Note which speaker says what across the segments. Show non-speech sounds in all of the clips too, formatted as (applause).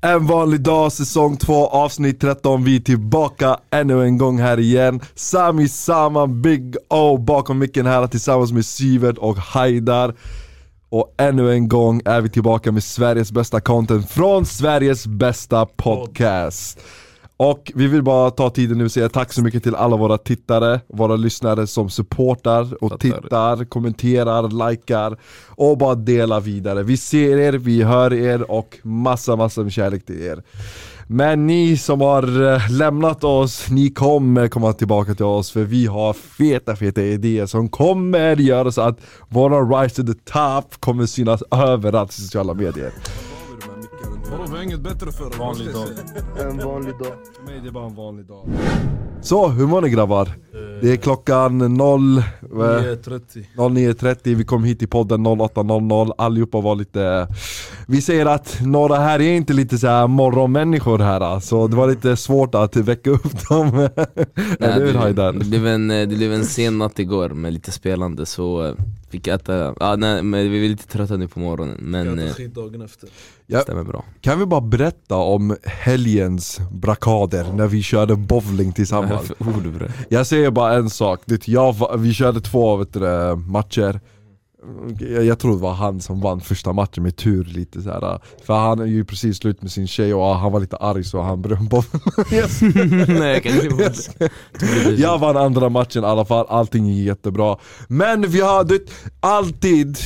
Speaker 1: En vanlig dag, säsong 2, avsnitt 13. Vi är tillbaka ännu en gång här igen. Sami Sama, Big O bakom micken här tillsammans med Sivert och Haidar. Och ännu en gång är vi tillbaka med Sveriges bästa content från Sveriges bästa podcast. Och vi vill bara ta tiden nu och säga tack så mycket till alla våra tittare, våra lyssnare som supportar och tittar, kommenterar, likar och bara delar vidare. Vi ser er, vi hör er och massa, massa med kärlek till er. Men ni som har eh, lämnat oss, ni kommer komma tillbaka till oss för vi har feta, feta idéer som kommer göra så att våra rise to the top kommer synas överallt i sociala medier.
Speaker 2: Vadå, vi har inget bättre för Vanlig dag.
Speaker 3: En vanlig dag.
Speaker 2: För mig det är bara en vanlig dag.
Speaker 1: Så, hur mår ni grabbar?
Speaker 4: Eh.
Speaker 1: Det är klockan 0... eh,
Speaker 2: 9.30.
Speaker 1: 09.30, vi kom hit till podden 08.00, allihopa var lite... Vi säger att några här är inte lite så här morgonmänniskor här, så det var lite svårt att väcka upp dem. (laughs)
Speaker 4: Nej,
Speaker 1: Eller hur
Speaker 4: det,
Speaker 1: Haydar?
Speaker 4: det, blev en, eh, det blev en sen natt igår med lite spelande så eh, fick jag äta, ah, nej, men vi är lite trötta nu på morgonen men
Speaker 2: Jag
Speaker 4: eh,
Speaker 2: äter skit dagen efter.
Speaker 4: det stämmer bra
Speaker 1: Kan vi bara berätta om helgens brakader när vi körde bowling
Speaker 4: Vad är (laughs)
Speaker 1: tillsammans?
Speaker 4: det för ord bre?
Speaker 1: Jag säger bara en sak, det, typ jag, va- vi körde två vet du, det, matcher jag, jag tror det var han som vann första matchen med tur lite så här. För han är ju precis slut med sin tjej och han var lite arg så han (laughs) bröt bowling
Speaker 4: Nej jag kan inte (laughs) ihåg det.
Speaker 1: Jag vann andra matchen i alla fall, allting gick jättebra. Men vi har du, vet, alltid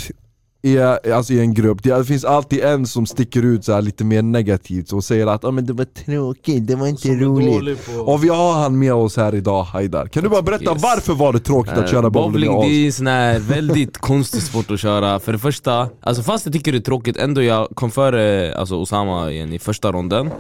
Speaker 1: i, alltså i en grupp, det finns alltid en som sticker ut så här lite mer negativt och säger att ah, men det var tråkigt, det var inte
Speaker 2: Som är
Speaker 1: roligt.
Speaker 2: dålig på-
Speaker 1: Och vi har han med oss här idag, Haidar. Kan du bara berätta
Speaker 4: Yes.
Speaker 1: varför var det tråkigt att köra
Speaker 4: Eh,
Speaker 1: bowling med
Speaker 4: Bowling
Speaker 1: oss?
Speaker 4: det är en sån här väldigt konstig sport att köra För det första, alltså fast jag tycker det är tråkigt ändå jag kom före eh, alltså Osama igen i första ronden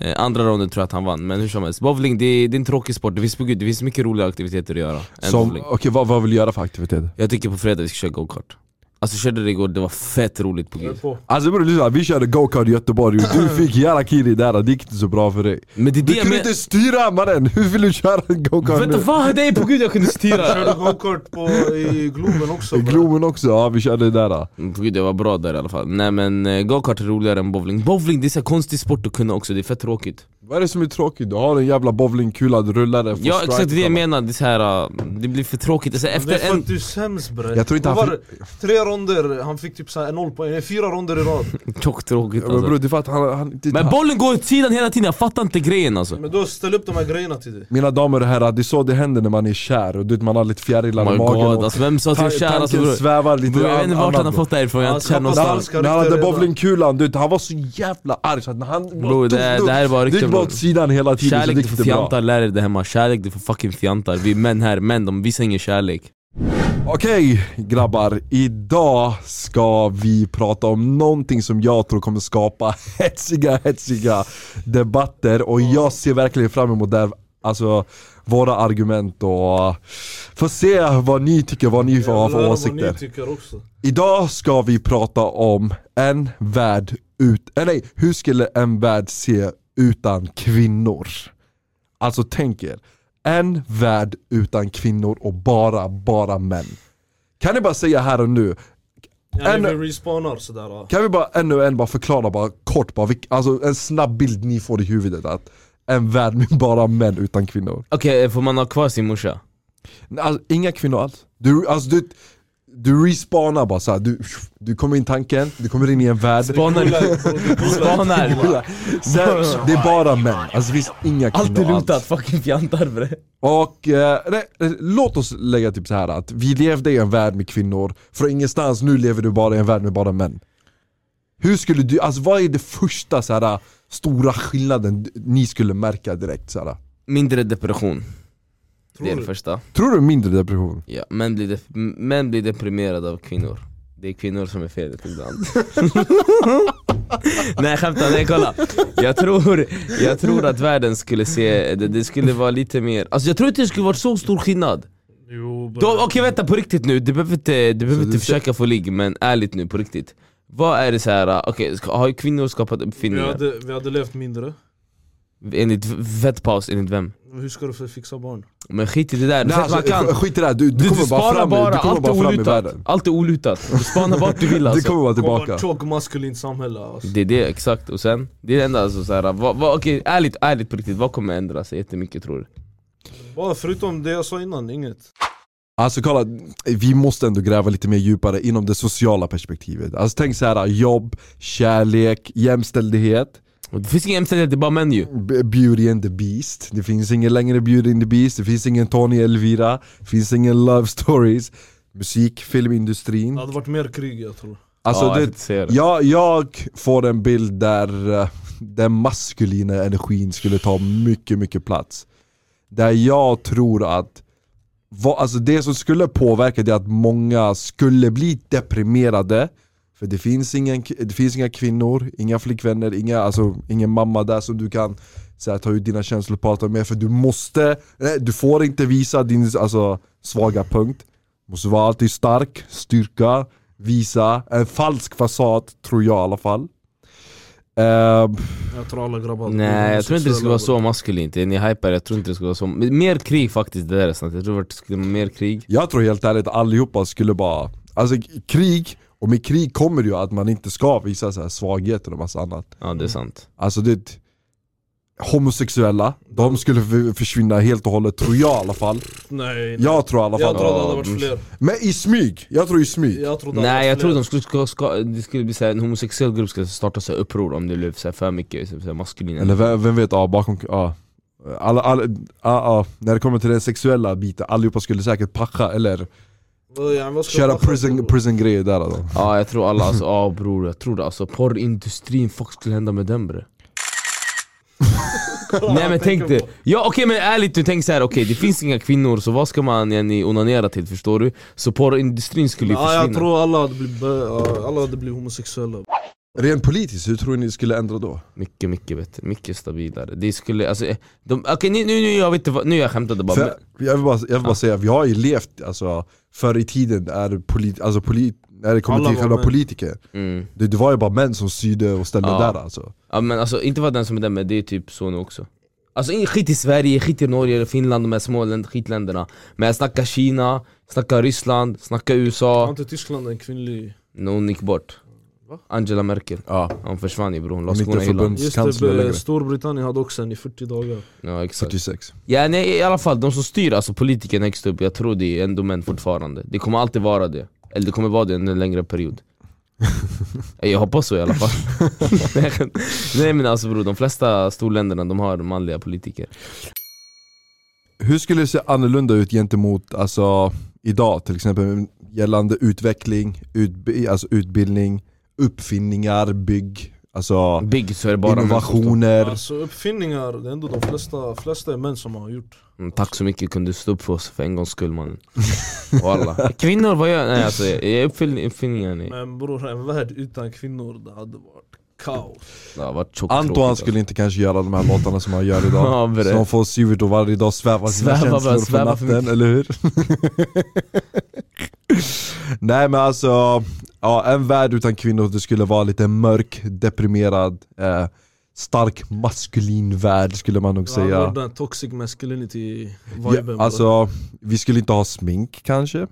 Speaker 4: Eh, Andra ronden tror jag att han vann, men hur som helst Bowling det är, det är en tråkig sport, det finns, på gud, det finns mycket roliga aktiviteter att göra än
Speaker 1: Som,
Speaker 4: bowling.
Speaker 1: okej, vad, vad vill du göra för aktivitet?
Speaker 4: Jag tycker på fredag vi ska köra go-kart Alltså jag körde det igår, det var fett roligt på gud
Speaker 1: Alltså bror, lyssna, vi körde go-kart i Göteborg och
Speaker 2: (laughs)
Speaker 1: du fick jävla kiri där, det gick inte så bra för dig.
Speaker 4: Men det är
Speaker 1: Du
Speaker 4: det
Speaker 1: kunde
Speaker 4: men...
Speaker 1: inte styra mannen, (laughs) hur vill du köra en go-kart
Speaker 4: Vänta
Speaker 1: nu?
Speaker 4: vad? Nej på gud jag kunde
Speaker 1: (laughs)
Speaker 4: styra!
Speaker 2: Körde go-kart på, i Globen också.
Speaker 1: I
Speaker 2: bra.
Speaker 1: Globen också, ja vi körde där. Då.
Speaker 4: Mm, på gud jag var bra där i alla fall Nej men eh, go-kart är roligare än bowling Bowling det är så här konstig sport att kunna också, det är fett tråkigt
Speaker 1: Vad är det som är tråkigt? Du har en jävla bowlingkula, du rullar den, får
Speaker 4: Ja
Speaker 1: strike
Speaker 4: exakt det jag
Speaker 1: och
Speaker 4: menar, det, är så här, eh, det blir för tråkigt alltså,
Speaker 2: Det är
Speaker 4: efter
Speaker 2: för
Speaker 4: en...
Speaker 2: att du är sämst bre.
Speaker 1: Jag tror inte
Speaker 2: Vad
Speaker 1: han
Speaker 2: var det? Tre ronder, han fick typ så här en noll poäng. Nej, Fyra ronder i rad.
Speaker 4: (laughs) Tjockt tråkigt
Speaker 1: allt. Men
Speaker 4: alltså.
Speaker 1: bror det är för att han, han, inte-
Speaker 4: Men bollen går åt sidan hela tiden, jag fattar inte grejen alltså
Speaker 2: Men då ställ upp de här grejerna till dig.
Speaker 1: Mina damer och herrar, det är så det händer när man är kär och du vet man har lite fjärilar
Speaker 4: Oh
Speaker 1: i
Speaker 4: my
Speaker 1: magen
Speaker 4: god
Speaker 1: och
Speaker 4: alltså vem sa att
Speaker 1: ta-
Speaker 4: jag är kär alltså
Speaker 1: tanken
Speaker 4: bror?
Speaker 1: svävar lite
Speaker 4: Bror, Jag vet inte vart han har fått det här ifrån, jag har
Speaker 2: Alltså,
Speaker 4: inte känt
Speaker 2: hoppas
Speaker 1: när han,
Speaker 4: någonstans
Speaker 2: Falska
Speaker 1: när han hade
Speaker 2: rykten redan.
Speaker 1: bowlingkulan, du vet, han var så jävla arg så att när han
Speaker 4: Bror, det här-
Speaker 1: tog-
Speaker 4: det här är bara
Speaker 1: Det gick
Speaker 4: rykten,
Speaker 1: bara
Speaker 4: bror.
Speaker 1: åt sidan hela tiden så det
Speaker 4: Kärlek
Speaker 1: gick
Speaker 4: till
Speaker 1: inte bra
Speaker 4: fjantar, lär er det hemma, kärlek till för fucking fjantar Vi är män här, män de visar ingen kärlek
Speaker 1: Okej grabbar, idag ska vi prata om någonting som jag tror kommer skapa (laughs) hetsiga, hetsiga debatter och jag ser verkligen fram emot det här, alltså våra argument och får se vad ni tycker, vad ni har
Speaker 2: Jävlar,
Speaker 1: för
Speaker 2: Vad
Speaker 1: åsikter.
Speaker 2: ni tycker också.
Speaker 1: Idag ska vi prata om en värld ut, eller nej, hur skulle en värld se utan kvinnor? Alltså tänk er, en värld utan kvinnor och bara, bara män. Kan ni bara säga här och nu,
Speaker 2: Ja, ni
Speaker 1: En-
Speaker 2: vi respawnar sådär. ja.
Speaker 1: kan vi bara ännu en bara förklara bara kort, bara, vilk, alltså en snabb bild ni får i huvudet att en värld med bara män utan kvinnor.
Speaker 4: Okej, eh, får man ha kvar sin morsa?
Speaker 1: Alltså, inga kvinnor alls. Du, alltså, du, du respawnar bara såhär, du, du kommer in i tanken, du kommer in i en värld.
Speaker 4: Spanar Spanar!
Speaker 1: Sen, det är bara män, alltså det finns inga kvinnor
Speaker 4: Allt är
Speaker 1: alls.
Speaker 4: lootat, fucking fjantar bre
Speaker 1: Och eh, nej, eh, låt oss lägga typ så här att vi levde i en värld med kvinnor, från ingenstans nu lever du bara i en värld med bara män. Hur skulle du, alltså vad är det första så här stora skillnaden d- ni skulle märka direkt så här?
Speaker 4: Mindre depression, det är
Speaker 2: Tror
Speaker 4: det
Speaker 2: du?
Speaker 4: första
Speaker 1: Tror du mindre depression?
Speaker 4: ja, män, blir dep- m- män blir deprimerade av kvinnor Det är kvinnor som är felet (laughs) ibland Nej jag skämtar, nej kolla jag tror, jag tror att världen skulle se, det, det skulle vara lite mer Alltså jag tror inte det skulle vara så stor skillnad
Speaker 2: Jo, bre.
Speaker 4: Då- Okej vänta på riktigt nu, du behöver inte, du behöver
Speaker 1: Så
Speaker 4: inte
Speaker 1: du ser-
Speaker 4: försöka få ligg men ärligt nu på riktigt Vad är det så här? okej äh, ska- har kvinnor skapat
Speaker 2: vi,
Speaker 4: uppfinningar?
Speaker 2: hade, vi hade levt mindre.
Speaker 4: Enligt v- vettpaus, enligt vem?
Speaker 2: Hur ska du fixa barn?
Speaker 4: Men skit i det
Speaker 1: Nej,
Speaker 4: där, Nej,
Speaker 1: alltså,
Speaker 4: man kan.
Speaker 1: sk- Skit i det här, du, du,
Speaker 4: Du, du
Speaker 1: kommer bara
Speaker 4: spanar
Speaker 1: fram,
Speaker 4: bara,
Speaker 1: du kommer
Speaker 4: allt är
Speaker 1: bara fram i
Speaker 4: olutat.
Speaker 1: världen.
Speaker 4: Allt är olutat. Du spanar vart du
Speaker 1: (laughs)
Speaker 4: vill
Speaker 1: Du
Speaker 4: alltså.
Speaker 1: kommer vara
Speaker 2: Kommer
Speaker 1: tillbaka.
Speaker 2: Tjock maskulint samhälle alltså.
Speaker 4: Det är det, exakt. Och sen, det är det enda alltså såhär, vad, vad, okej, ärligt, ärligt på riktigt, vad kommer ändra sig jättemycket tror du?
Speaker 2: Bara förutom det jag sa innan, inget.
Speaker 1: Alltså kolla, vi måste ändå gräva lite mer djupare inom det sociala perspektivet. Alltså tänk så här, jobb, kärlek, jämställdhet,
Speaker 4: Och Det finns ingen jämställdhet, det är bara män ju.
Speaker 1: b- beauty and the beast. Det finns ingen längre beauty and the beast, det finns ingen Tony Elvira, det finns ingen love stories, musik, filmindustrin.
Speaker 2: Det hade varit mer krig jag tror.
Speaker 1: Alltså
Speaker 4: ja,
Speaker 1: det,
Speaker 4: jag ser det.
Speaker 1: Jag, jag får en bild där eh, den maskulina energin skulle ta mycket, mycket plats. Där jag tror att vad, alltså det som skulle påverka det är att många skulle bli deprimerade. För det finns, ingen, k- det finns inga kvinnor, inga flickvänner, inga, alltså, ingen mamma där som du kan så här, ta ut dina känslor och prata med. För du måste, nej, du får inte visa din alltså, svaga punkt. Du måste vara alltid stark, styrka, visa. En falsk fasad, tror jag i alla fall. Ehm,
Speaker 2: Jag tror alla grabbar
Speaker 4: Nej jag tror inte det skulle vara så maskulint, är ni hypar? Jag tror inte det skulle vara så. Men Mer krig faktiskt, det där är sant. Jag tror att det skulle vara mer krig.
Speaker 1: Jag tror helt ärligt allihopa skulle bara, alltså k- krig, och med krig kommer det ju att man inte ska visa så här svagheter och massa annat.
Speaker 4: Ja det är sant.
Speaker 1: Alltså det, homosexuella, de skulle f- försvinna helt och hållet tror jag i alla fall.
Speaker 2: Nej, nej.
Speaker 1: Jag tror i alla
Speaker 2: Jag
Speaker 1: fall.
Speaker 2: tror det hade varit fler.
Speaker 1: Men i smyg, jag tror i smyg.
Speaker 2: Jag tror det hade
Speaker 4: Mm. Nej
Speaker 2: varit
Speaker 4: jag
Speaker 2: fler.
Speaker 4: tror de skulle, ska, ska, det skulle bli såhär, en homosexuell grupp skulle starta så här uppror om det blev så här för mycket så här maskulin
Speaker 1: Eller vem, vem vet, ja bakom, ja. Alla, alla, ja, ja. När det kommer till den sexuella biten, allihopa skulle säkert packa eller
Speaker 2: Vad- ja, vad ska
Speaker 1: köra
Speaker 2: jag passa
Speaker 1: prison,
Speaker 2: på?
Speaker 1: prison grejer där då.
Speaker 4: Ja jag tror alla alltså, ja bror jag tror det alltså. Porrindustrin, fuck skulle hända med den bre?
Speaker 2: Kolla,
Speaker 4: Nej
Speaker 2: (laughs)
Speaker 4: men
Speaker 2: jag
Speaker 4: tänk
Speaker 2: tänker
Speaker 4: dig, ja okej men ärligt du tänker såhär, okej det finns inga kvinnor så vad ska man yani, onanera till förstår du? Så porrindustrin skulle ju
Speaker 2: på- Ja,
Speaker 4: försvinna.
Speaker 2: jag tror alla hade blivit, bö- ja, alla hade blivit homosexuella.
Speaker 1: Rent politiskt, hur tror ni det skulle ändra då?
Speaker 4: Mycket, mycket bättre, mycket stabilare. Det skulle, alltså, eh, de, okej nu, nu, nu, jag vet inte vad, nu jag skämtade bara.
Speaker 1: För,
Speaker 4: men-
Speaker 1: jag vill bara, jag vill bara säga, vi har ju levt alltså, förr i tiden är polit, alltså, polit, när det kommer
Speaker 2: Alla
Speaker 1: till
Speaker 2: var
Speaker 1: själva
Speaker 2: män.
Speaker 1: politiker,
Speaker 4: Mm.
Speaker 1: det, det var ju bara män som styrde och ställde
Speaker 4: Ja.
Speaker 1: där alltså.
Speaker 4: Ja, men alltså inte vara den som är den men det är typ så nu också. Alltså in- skit i Sverige, skit i Norge, Finland, de här små länder, skitländerna. Men jag snackar Kina, snackar Ryssland, snackar
Speaker 2: Har
Speaker 4: USA.
Speaker 2: inte Tyskland en kvinnlig...
Speaker 4: När hon gick bort.
Speaker 2: Va?
Speaker 4: Angela Merkel.
Speaker 1: Ja.
Speaker 4: Hon försvann ju bror, hon la
Speaker 1: Hon är inte
Speaker 4: skorna i hyllan.
Speaker 1: förbunds-
Speaker 2: Just
Speaker 1: Kansler
Speaker 2: det,
Speaker 1: längre.
Speaker 2: eh, Storbritannien hade också en i 40 dagar.
Speaker 4: Ja exakt.
Speaker 1: 46.
Speaker 4: Ja nej, i alla fall, de som styr, alltså politikerna högst upp, jag tror det är ändå män fortfarande. Det kommer alltid vara det. Eller det kommer vara det under en längre period. jag hoppas så i alla fall. (laughs) Nej, jag skämt. nej men alltså bror, de flesta storländerna de har manliga politiker.
Speaker 1: Hur skulle det se annorlunda ut gentemot alltså, idag till exempel gällande utveckling, utb- alltså, utbildning, uppfinningar, bygg, alltså,
Speaker 4: Big så är det bara män som står-
Speaker 1: innovationer.
Speaker 2: Alltså uppfinningar, det är ändå de flesta, flesta är män som har gjort.
Speaker 4: Mm, Tack så mycket, kunde du stå upp för oss för en gångs
Speaker 1: (laughs)
Speaker 4: skull mannen. Walla. Kvinnor, vad gör Nej alltså, jag är uppfyll- uppfinningar ni.
Speaker 2: Men bror, en värld utan kvinnor, det hade varit kaos.
Speaker 4: Det har varit alltså. tjockt
Speaker 1: Antoine
Speaker 4: tråkigt,
Speaker 1: skulle inte kanske göra de här låtarna som han gör idag.
Speaker 4: (laughs) Ja, bre.
Speaker 1: så han får Sivert att varje dag sväva sina
Speaker 4: Sväva,
Speaker 1: känslor
Speaker 4: bara
Speaker 1: för
Speaker 4: sväva för
Speaker 1: natten, eller hur? (laughs) Nej men alltså, ja, en värld utan kvinnor det skulle vara lite mörk, deprimerad, eh, stark maskulin värld skulle man nog
Speaker 2: Det hade varit
Speaker 1: säga.
Speaker 2: den toxic masculinity viben.
Speaker 1: Ja, alltså, vi skulle inte ha smink kanske.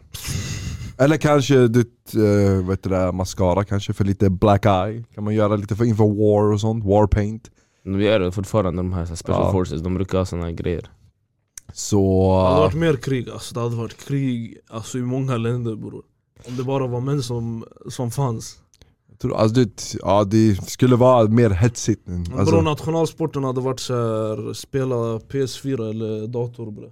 Speaker 1: Eller kanske ditt, eh, vad heter det, mascara kanske för lite black eye. Kan man göra lite för inför war och sånt, war paint.
Speaker 4: alltså. De gör det fortfarande de här, så här special
Speaker 1: Ja.
Speaker 4: forces, de brukar ha såna här grejer.
Speaker 1: Så...
Speaker 2: Det hade varit mer krig alltså, det hade varit krig alltså, i många länder bror. Om det bara var män som, som fanns.
Speaker 1: Tror- Alltså det, ja, det skulle vara mer hetsigt. än-
Speaker 2: Men bror
Speaker 1: Alltså,
Speaker 2: nationalsporten hade varit så här, spela PS4 eller dator bror.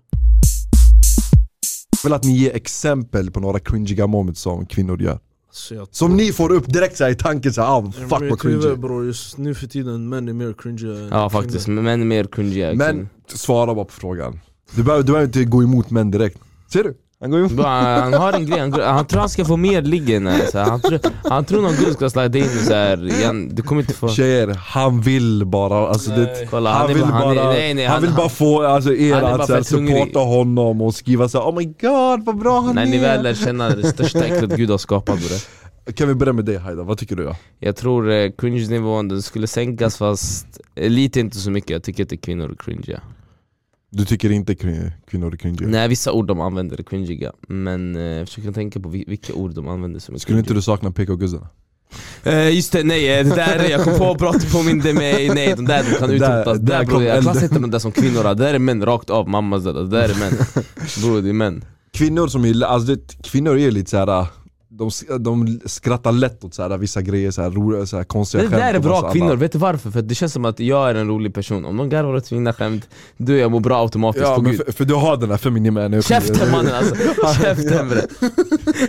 Speaker 1: jag vill att ni ger exempel på några cringiga moments som kvinnor gör.
Speaker 2: Alltså, jag
Speaker 1: Som ni får upp direkt så här, i tanken, så här, ah,
Speaker 2: Jag
Speaker 1: fuck
Speaker 2: är
Speaker 1: vad
Speaker 2: tyvärr,
Speaker 1: cringy.
Speaker 2: bror, just nu för tiden män är mer cringy än
Speaker 4: Ja faktiskt, men män är mer kungiga.
Speaker 1: Men svara bara på frågan. Du behöver, du behöver inte gå emot män direkt. Ser du? Han går emot.
Speaker 4: Bro, han, han har en grej, han, han tror han ska få mer liggen alltså. han, tror, han tror någon gud ska slida in såhär igen, du kommer inte få...
Speaker 1: Tjejer, han vill bara, alltså det,
Speaker 2: Nej.
Speaker 4: Kolla,
Speaker 1: han,
Speaker 4: han, är
Speaker 1: vill
Speaker 4: bara, han,
Speaker 1: bara,
Speaker 4: är, nej, nej,
Speaker 1: han, vill bara få alltså, er
Speaker 4: han är bara
Speaker 1: att så här,
Speaker 4: fett hungrig.
Speaker 1: supporta honom och skriva så här, oh my god vad bra han
Speaker 4: När
Speaker 1: är.
Speaker 4: ni väl lär känna det största äcklet gud har skapat bre.
Speaker 1: Kan vi börja med dig Haida, vad tycker du? Ja?
Speaker 4: Jag tror eh, cringe-nivån den skulle sänkas
Speaker 1: Mm.
Speaker 4: fast eh, lite inte så mycket, jag tycker inte kvinnor är cringiga
Speaker 1: Du tycker inte kvin- kvinnor är cringe?
Speaker 4: Nej vissa ord de använder är cringiga, men eh, jag försöker tänka på vi- vilka ord de använder som är
Speaker 1: Skulle inte
Speaker 4: cringiga.
Speaker 1: du sakna PK-guzzarna?
Speaker 4: Eh, just det, nej eh, det där, jag kom på och pratade påminde mig, nej de där de
Speaker 1: (laughs)
Speaker 4: kan
Speaker 1: Där-
Speaker 4: utrotas,
Speaker 1: där
Speaker 4: där,
Speaker 1: kom
Speaker 4: bror jag
Speaker 1: elden.
Speaker 4: klassar inte de där som kvinnor, det där är män rakt av, mamma det där, det där är
Speaker 1: (laughs)
Speaker 4: män Bror det är män
Speaker 1: Kvinnor som gillar, alltså det, kvinnor är ju lite såhär, de, de skrattar lätt åt såhär, vissa grejer, såhär, roliga, såhär, konstiga
Speaker 4: Det
Speaker 1: skämt
Speaker 4: där är
Speaker 1: och massa
Speaker 4: bra
Speaker 1: annat.
Speaker 4: kvinnor, vet du varför? För att det känns som att jag är en rolig person, om de garvar åt mina skämt, du jag mår bra automatiskt
Speaker 1: Ja
Speaker 4: på
Speaker 1: men
Speaker 4: gud
Speaker 1: för, för du har den där feminima energin
Speaker 4: (laughs) Käften mannen alltså, käften bre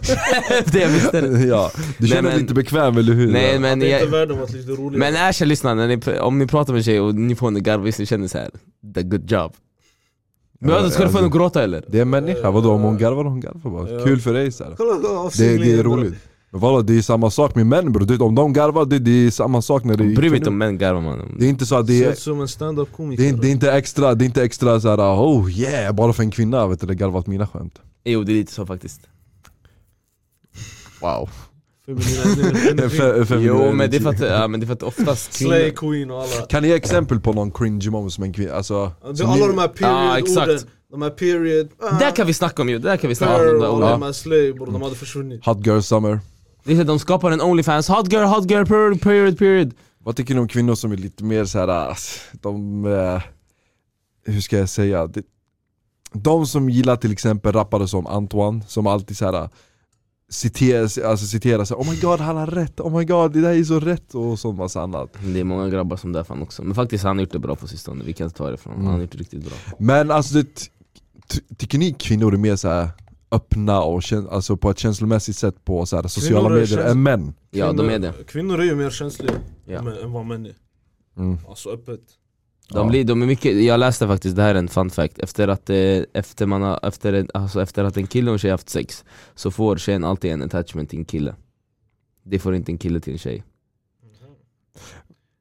Speaker 4: Käften, jag visste det
Speaker 1: (laughs) Ja, du känner dig
Speaker 4: men-
Speaker 1: inte bekväm eller hur?
Speaker 4: Nej men
Speaker 2: Det är inte
Speaker 4: jag,
Speaker 2: världen varit lite rolig.
Speaker 4: men erkänn lyssna, när ni, om ni pratar med en tjej och ni får henne att garva, visst ni känner såhär, the good job Men
Speaker 1: Ja,
Speaker 4: vadå, ska du få henne att gråta eller?
Speaker 1: Det är en människa, vadå om hon garvar, hon garvar bara.
Speaker 2: Ja.
Speaker 1: Kul för dig såhär.
Speaker 2: Kolla, kolla,
Speaker 1: Det,
Speaker 2: avsinglingen
Speaker 1: det är
Speaker 2: bara.
Speaker 1: roligt. Men vadå, det är samma sak med män bror. Du- Om de garvar, det, det är samma sak när det
Speaker 4: Bryr mig inte
Speaker 1: är
Speaker 4: om män garvar mannen
Speaker 1: Det är inte så att det
Speaker 2: Ser
Speaker 1: är,
Speaker 2: ut som en stand-up komiker.
Speaker 1: det är, det är inte extra, det är inte extra såhär oh yeah, bara för en kvinna vet du, det garvat mina skämt.
Speaker 4: Jo det är lite så faktiskt
Speaker 1: Wow. (laughs)
Speaker 2: Feminina energin.
Speaker 1: Fe- feminin
Speaker 4: Jo men det är
Speaker 1: energi.
Speaker 4: för att, ja, men det är för att oftast
Speaker 2: Slay
Speaker 4: kvinnor
Speaker 2: Queen och alla.
Speaker 1: Kan ni ge exempel på någon cringe moment som en kvinna, alltså?
Speaker 2: Det
Speaker 1: som
Speaker 2: är alla
Speaker 1: ni-
Speaker 2: de här
Speaker 4: Ja, exakt.
Speaker 2: period-orden. De här period... ah,
Speaker 4: Där kan vi snacka om ju, där kan vi snacka om
Speaker 2: Pearl
Speaker 4: de där
Speaker 2: och
Speaker 4: orden
Speaker 2: alla de här slay bror, de hade försvunnit.
Speaker 1: Hot girl summer.
Speaker 4: Det är så att de skapar en Onlyfans, hot girl, hot girl, period, period, period
Speaker 1: Vad tycker ni om kvinnor som är lite mer såhär, ass, de, eh, hur ska jag säga? De, de som gillar till exempel rappare som Antoine, som alltid såhär citerar, alltså citerar såhär, oh my god han har rätt, oh my god det där är så rätt och sånt massa annat.
Speaker 4: Det är många grabbar som där fan också, men faktiskt han har gjort det bra på sistone, vi kan inte ta det ifrån Han har gjort det riktigt bra
Speaker 1: Men alltså det, ty- tycker ni kvinnor är mer såhär öppna och kän, alltså på ett känslomässigt sätt på såhär, sociala
Speaker 2: Kvinnor är
Speaker 1: medier
Speaker 2: käns-
Speaker 1: än män?
Speaker 4: Ja de är det,
Speaker 2: Kvinnor är ju mer känsliga
Speaker 4: Ja.
Speaker 2: än- än vad män är.
Speaker 1: Mm.
Speaker 2: Alltså öppet.
Speaker 4: de, blir, de är mycket, jag läste faktiskt, det här är en fun fact Efter att, eh, efter man har, efter, en- alltså, efter att en kille och en tjej haft sex Så får tjejen alltid en attachment till en kille Det får inte en kille till en tjej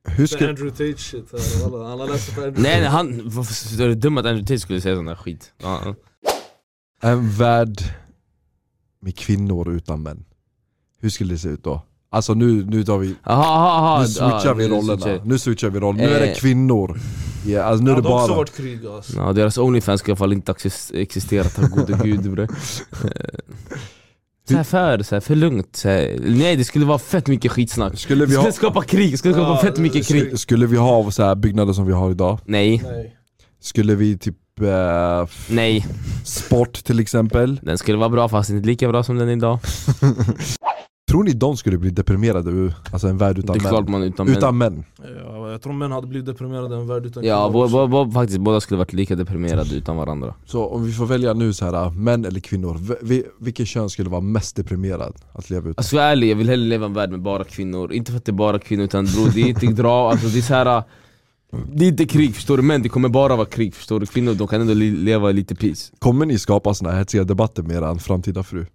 Speaker 1: Hur
Speaker 2: Det är
Speaker 1: ska,
Speaker 2: Andrew Tate shit här, alla, alla läser på Andrew
Speaker 4: Nej nej
Speaker 2: Tate.
Speaker 4: han, varför- är det dumt att Andrew Tate skulle säga sån där skit? Ja.
Speaker 1: en värld med kvinnor utan män, hur skulle det se ut då? Alltså nu, nu tar vi
Speaker 4: Aha, aha, aha.
Speaker 1: Nu switchar
Speaker 4: Ja,
Speaker 1: vi
Speaker 4: nu
Speaker 1: rollerna,
Speaker 4: switchar vi.
Speaker 1: nu switchar vi roller. Nu är det
Speaker 4: Eh.
Speaker 1: kvinnor, ja, alltså nu är det
Speaker 2: Det hade också
Speaker 1: bara
Speaker 2: varit krig alltså.
Speaker 4: Ja, deras Onlyfans ska i alla fall inte access- existera, tack gode
Speaker 1: (laughs)
Speaker 4: gud bre. Eh, Så här för, så här för lugnt, så här. nej det skulle vara fett mycket skitsnack
Speaker 1: Skulle
Speaker 4: Det
Speaker 1: vi ha,
Speaker 4: skulle skapa krig, det (laughs) skulle skapa
Speaker 2: Ja,
Speaker 4: fett
Speaker 2: det-
Speaker 4: mycket
Speaker 2: det-
Speaker 4: krig
Speaker 1: skulle vi ha så här byggnader som vi har idag?
Speaker 4: Nej,
Speaker 2: Nej.
Speaker 1: Skulle vi typ, eh, f-
Speaker 4: nej,
Speaker 1: sport till exempel?
Speaker 4: den skulle vara bra fast inte lika bra som den är idag
Speaker 1: Tror ni de skulle bli deprimerade ur alltså en värld
Speaker 4: Det
Speaker 1: utan
Speaker 4: är klart
Speaker 1: män?
Speaker 4: man utan män
Speaker 1: Utan män?
Speaker 2: Ja, jag tror män hade blivit deprimerade i en värld utan
Speaker 4: Ja,
Speaker 2: kvinnor
Speaker 4: bo,
Speaker 2: också.
Speaker 4: bo, bo, faktiskt båda skulle varit lika deprimerade utan varandra
Speaker 1: Så om vi får välja nu så här, män eller kvinnor, v- vi, vilket kön skulle vara mest deprimerad att leva utan?
Speaker 4: Alltså jag är ärlig, jag vill hellre leva i en värld med bara kvinnor Inte för att det är bara kvinnor utan bror, det är inte dra, alltså det är så här. Det är inte krig förstår du, men det kommer bara vara krig förstår du Kvinnor de kan ändå li- leva i lite peace
Speaker 1: Kommer ni skapa såna här hetsiga debatter med er framtida fru?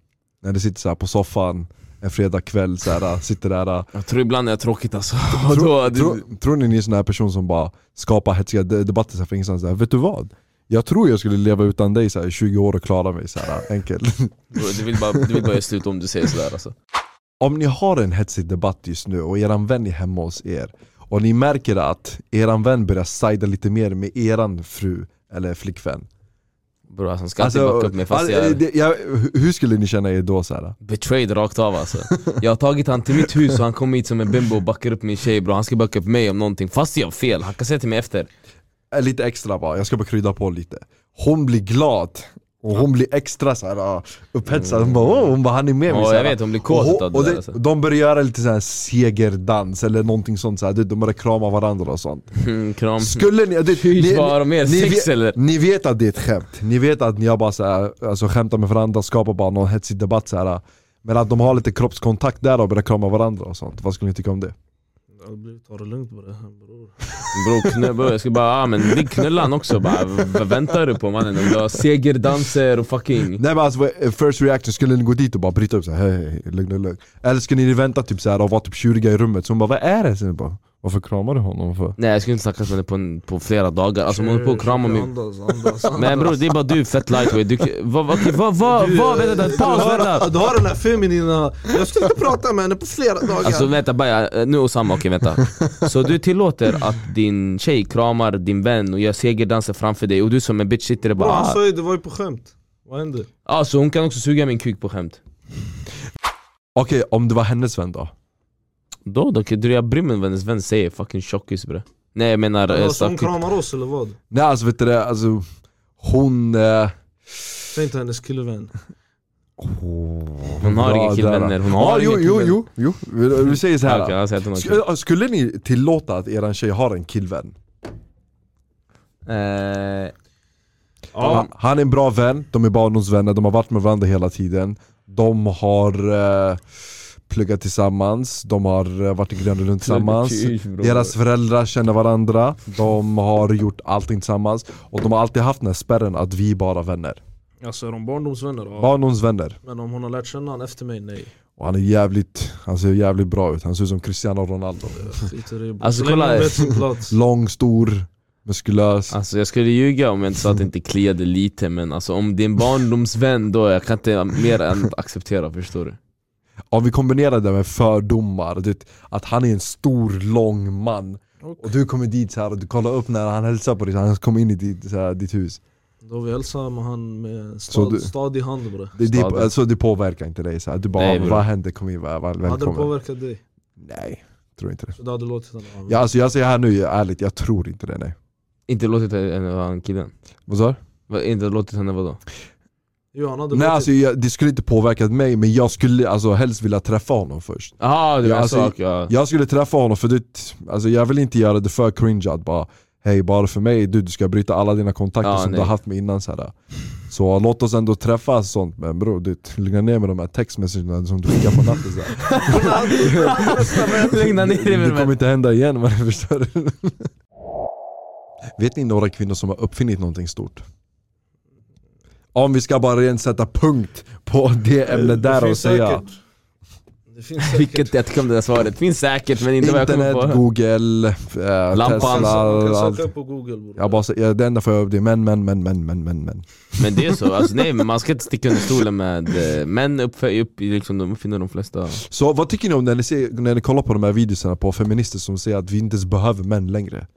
Speaker 1: När ni sitter så här på soffan en fredagkväll, så här, sitter
Speaker 4: (laughs)
Speaker 1: där
Speaker 4: Jag tror ibland är jag tråkigt (laughs) alltså.
Speaker 1: Tror, tror, tror ni ni är en sån här person som bara skapar hetsiga de- debatter så här från ingenstans? Så här, Vet du vad? Jag tror jag skulle leva utan dig så här, i 20 år och klara mig så här enkel.
Speaker 4: du, vill bara, du vill bara göra slut om du säger sådär alltså.
Speaker 1: (laughs) Om ni har en hetsig debatt just nu och eran vän är hemma hos er och ni märker att eran vän börjar sida lite mer med eran fru eller flickvän.
Speaker 4: Bror alltså, han ska alltid backa upp mig fast
Speaker 1: alltså,
Speaker 4: jag är
Speaker 1: det- jag, hur skulle ni känna er då? Så här?
Speaker 4: betrayed rakt av alltså. Jag har tagit han till mitt hus och han kommer hit som en bimbo och backar upp min tjej bror. Han ska backa upp mig om någonting fast jag har fel. Han kan säga till mig efter.
Speaker 1: Äh, Lite extra bara, jag ska bara krydda på lite. Hon blir glad och hon blir extra så här, ah, upphetsad. Hon bara, "Åh", hon bara han är med mig.
Speaker 4: Mm. Ja
Speaker 1: så här.
Speaker 4: jag vet, hon blir kåt
Speaker 1: och,
Speaker 4: utav det
Speaker 1: och
Speaker 4: där
Speaker 1: det,
Speaker 4: alltså.
Speaker 1: de börjar göra lite så här segerdans eller någonting sånt, så här. Du, de börjar krama varandra och sånt.
Speaker 4: Mm, Kram.
Speaker 1: Skulle ni... Det,
Speaker 4: Fy, vad har de mer?
Speaker 1: ni,
Speaker 4: Sex eller?
Speaker 1: vet, ni vet att det är ett skämt, ni vet att ni har bara så här, alltså, skämtar med varandra, skapar bara någon hetsig debatt så här. Men att de har lite kroppskontakt där och börjar krama varandra och sånt, vad skulle ni tycka om det?
Speaker 2: Jag hade blivit, ta det lugnt bara bror.
Speaker 4: Bror knulla, bror, jag ska bara, ah, men ligg knulla han också bara. v- Vad väntar du på mannen? Du har segerdanser och fucking...
Speaker 1: Nej men alltså vad- first reaction, skulle ni gå dit och bara bryta upp såhär hej hej, hej, lugn lugn lugn? Eller skulle ni vänta typ såhär och vara typ tjuriga i rummet, så hon bara vad är det? Så ni bara, Varför kramar du honom för?
Speaker 4: Nej jag skulle inte snackat med henne på, en- på flera dagar, alltså hon håller på att krama mig
Speaker 2: Andas, andas, andas.
Speaker 4: (laughs) Men bror det är bara du fett lightweight, du vad, vad, vad, vad,
Speaker 2: Du-
Speaker 4: vad, vänta, vänta,
Speaker 2: Du
Speaker 4: paus,
Speaker 2: har,
Speaker 4: vänta!
Speaker 2: du har den här feminina, jag skulle inte prata med henne på flera dagar
Speaker 4: Alltså vänta, bara, nu Osama,
Speaker 1: (laughs)
Speaker 4: okej vänta Så du tillåter att din tjej kramar din vän och gör segerdanser framför dig och du som en bitch sitter där
Speaker 2: Bro,
Speaker 4: bara
Speaker 2: han
Speaker 4: ah.
Speaker 2: sa ju det var ju på skämt, vad hände?
Speaker 4: Alltså hon kan också suga min kuk på skämt
Speaker 1: Okej, om det var hennes vän då?
Speaker 4: Då då, kan du jag bryr mig om vad hennes vän säger, fucking tjockis bre Nej jag menar eh,
Speaker 2: Alltså, hon
Speaker 4: svartvitt
Speaker 2: kramar oss eller vad?
Speaker 1: Nej alltså vet du det, alltså hon... Eh,
Speaker 2: Säg inte hennes killvän
Speaker 4: Hon har
Speaker 1: bra
Speaker 4: inga killvänner,
Speaker 1: där.
Speaker 4: hon
Speaker 1: Ja,
Speaker 4: har
Speaker 1: jo,
Speaker 4: inga
Speaker 1: jo,
Speaker 4: killvänner.
Speaker 1: jo, jo, vi, vi säger så här.
Speaker 4: Ja, okej, han säger att hon har
Speaker 1: Sk-
Speaker 4: kul.
Speaker 1: äh, Skulle ni tillåta att eran tjej har en killvän?
Speaker 4: Eh,
Speaker 1: Han, han är en bra vän, de är barndomsvänner, de har varit med varandra hela tiden De har eh, pluggat tillsammans, de har eh, varit i Gröna Lund tillsammans Deras föräldrar känner varandra, de har gjort allting tillsammans Och de har alltid haft den här spärren att vi är bara vänner
Speaker 2: Alltså är de barndomsvänner? Ja.
Speaker 1: Barndomsvänner
Speaker 2: Men om hon har lärt känna honom efter mig, nej
Speaker 1: Och han är jävligt, han ser jävligt bra ut, han ser ut som Cristiano Ronaldo
Speaker 2: Skiter i det
Speaker 4: Alltså,
Speaker 2: Så länge
Speaker 4: kolla-
Speaker 2: hon vet sin
Speaker 4: (laughs)
Speaker 2: plats
Speaker 1: Lång, stor, muskulös
Speaker 4: Alltså jag skulle ljuga om jag inte sa att det inte kliade lite men alltså om din barndomsvän då, jag kan inte mer än acceptera förstår du?
Speaker 1: Om vi kombinerar det med fördomar, du vet, att han är en stor lång man Och du kommer dit så här och du kollar upp när han hälsar på dig, så han kommer in i ditt, så här, ditt hus
Speaker 2: Då vi hälsar med han med
Speaker 1: Så
Speaker 2: stad,
Speaker 1: du-
Speaker 2: stadig hand bre
Speaker 1: det, det,
Speaker 4: Stadigt.
Speaker 1: alltså, det påverkar inte dig, så här. du bara
Speaker 4: Nej, bror.
Speaker 1: vad händer, kom in, väl, väl,
Speaker 2: Hade det
Speaker 1: välkommen
Speaker 2: påverkat dig?
Speaker 1: Nej, tror inte det
Speaker 2: Så du hade låtit henne? Ja, men-
Speaker 1: ja, alltså, Jag säger här nu ärligt, jag tror inte det nej
Speaker 4: Inte låtit henne vara en killen?
Speaker 1: Vad sa du?
Speaker 4: Va- Inte låtit henne vadå?
Speaker 2: Jo han hade
Speaker 1: Nej
Speaker 2: låtit
Speaker 1: alltså jag, det skulle inte påverkat mig men jag skulle alltså, helst vilja träffa honom först
Speaker 4: Jaha, det
Speaker 1: Ja,
Speaker 4: var en
Speaker 1: alltså,
Speaker 4: sak (laughs) ja.
Speaker 1: Jag skulle träffa honom för det, alltså jag vill inte göra det för cringeat bara Hej bara för mig, du, du ska bryta alla dina kontakter
Speaker 4: Ja,
Speaker 1: som
Speaker 4: nej.
Speaker 1: du har haft med innan så här. Så låt oss ändå träffas och sånt men bror, du, lugna ner med de här textmessagerna som du skickar på natten så här.
Speaker 4: (laughs) Lugna ner dig
Speaker 1: Det kommer
Speaker 4: med
Speaker 1: inte hända igen man (laughs) förstår du? Vet ni några kvinnor som har uppfinnit någonting stort? Om vi ska bara rent sätta punkt på det ämnet där och
Speaker 2: finns
Speaker 1: säga
Speaker 2: säkert- Det finns
Speaker 1: (laughs)
Speaker 2: säkert
Speaker 4: Vilket, jag tycker om det där svaret, finns säkert men inte vad jag kommer
Speaker 1: Internet,
Speaker 4: på
Speaker 1: google, eh,
Speaker 2: Man
Speaker 4: Lampan.
Speaker 1: Tesla,
Speaker 2: kan
Speaker 1: allt
Speaker 2: söka på google bror
Speaker 1: Jag bara, säger- ja, det enda för jag det är män, män, män, män, män, män, män.
Speaker 4: Men det är så, alltså, nej men man ska inte sticka under stolen med eh, män uppför, upp, liksom, de uppfinner de flesta
Speaker 1: Så vad tycker ni om när ni, ser, när ni kollar på de här videorna på feminister som säger att vi inte ens behöver män längre?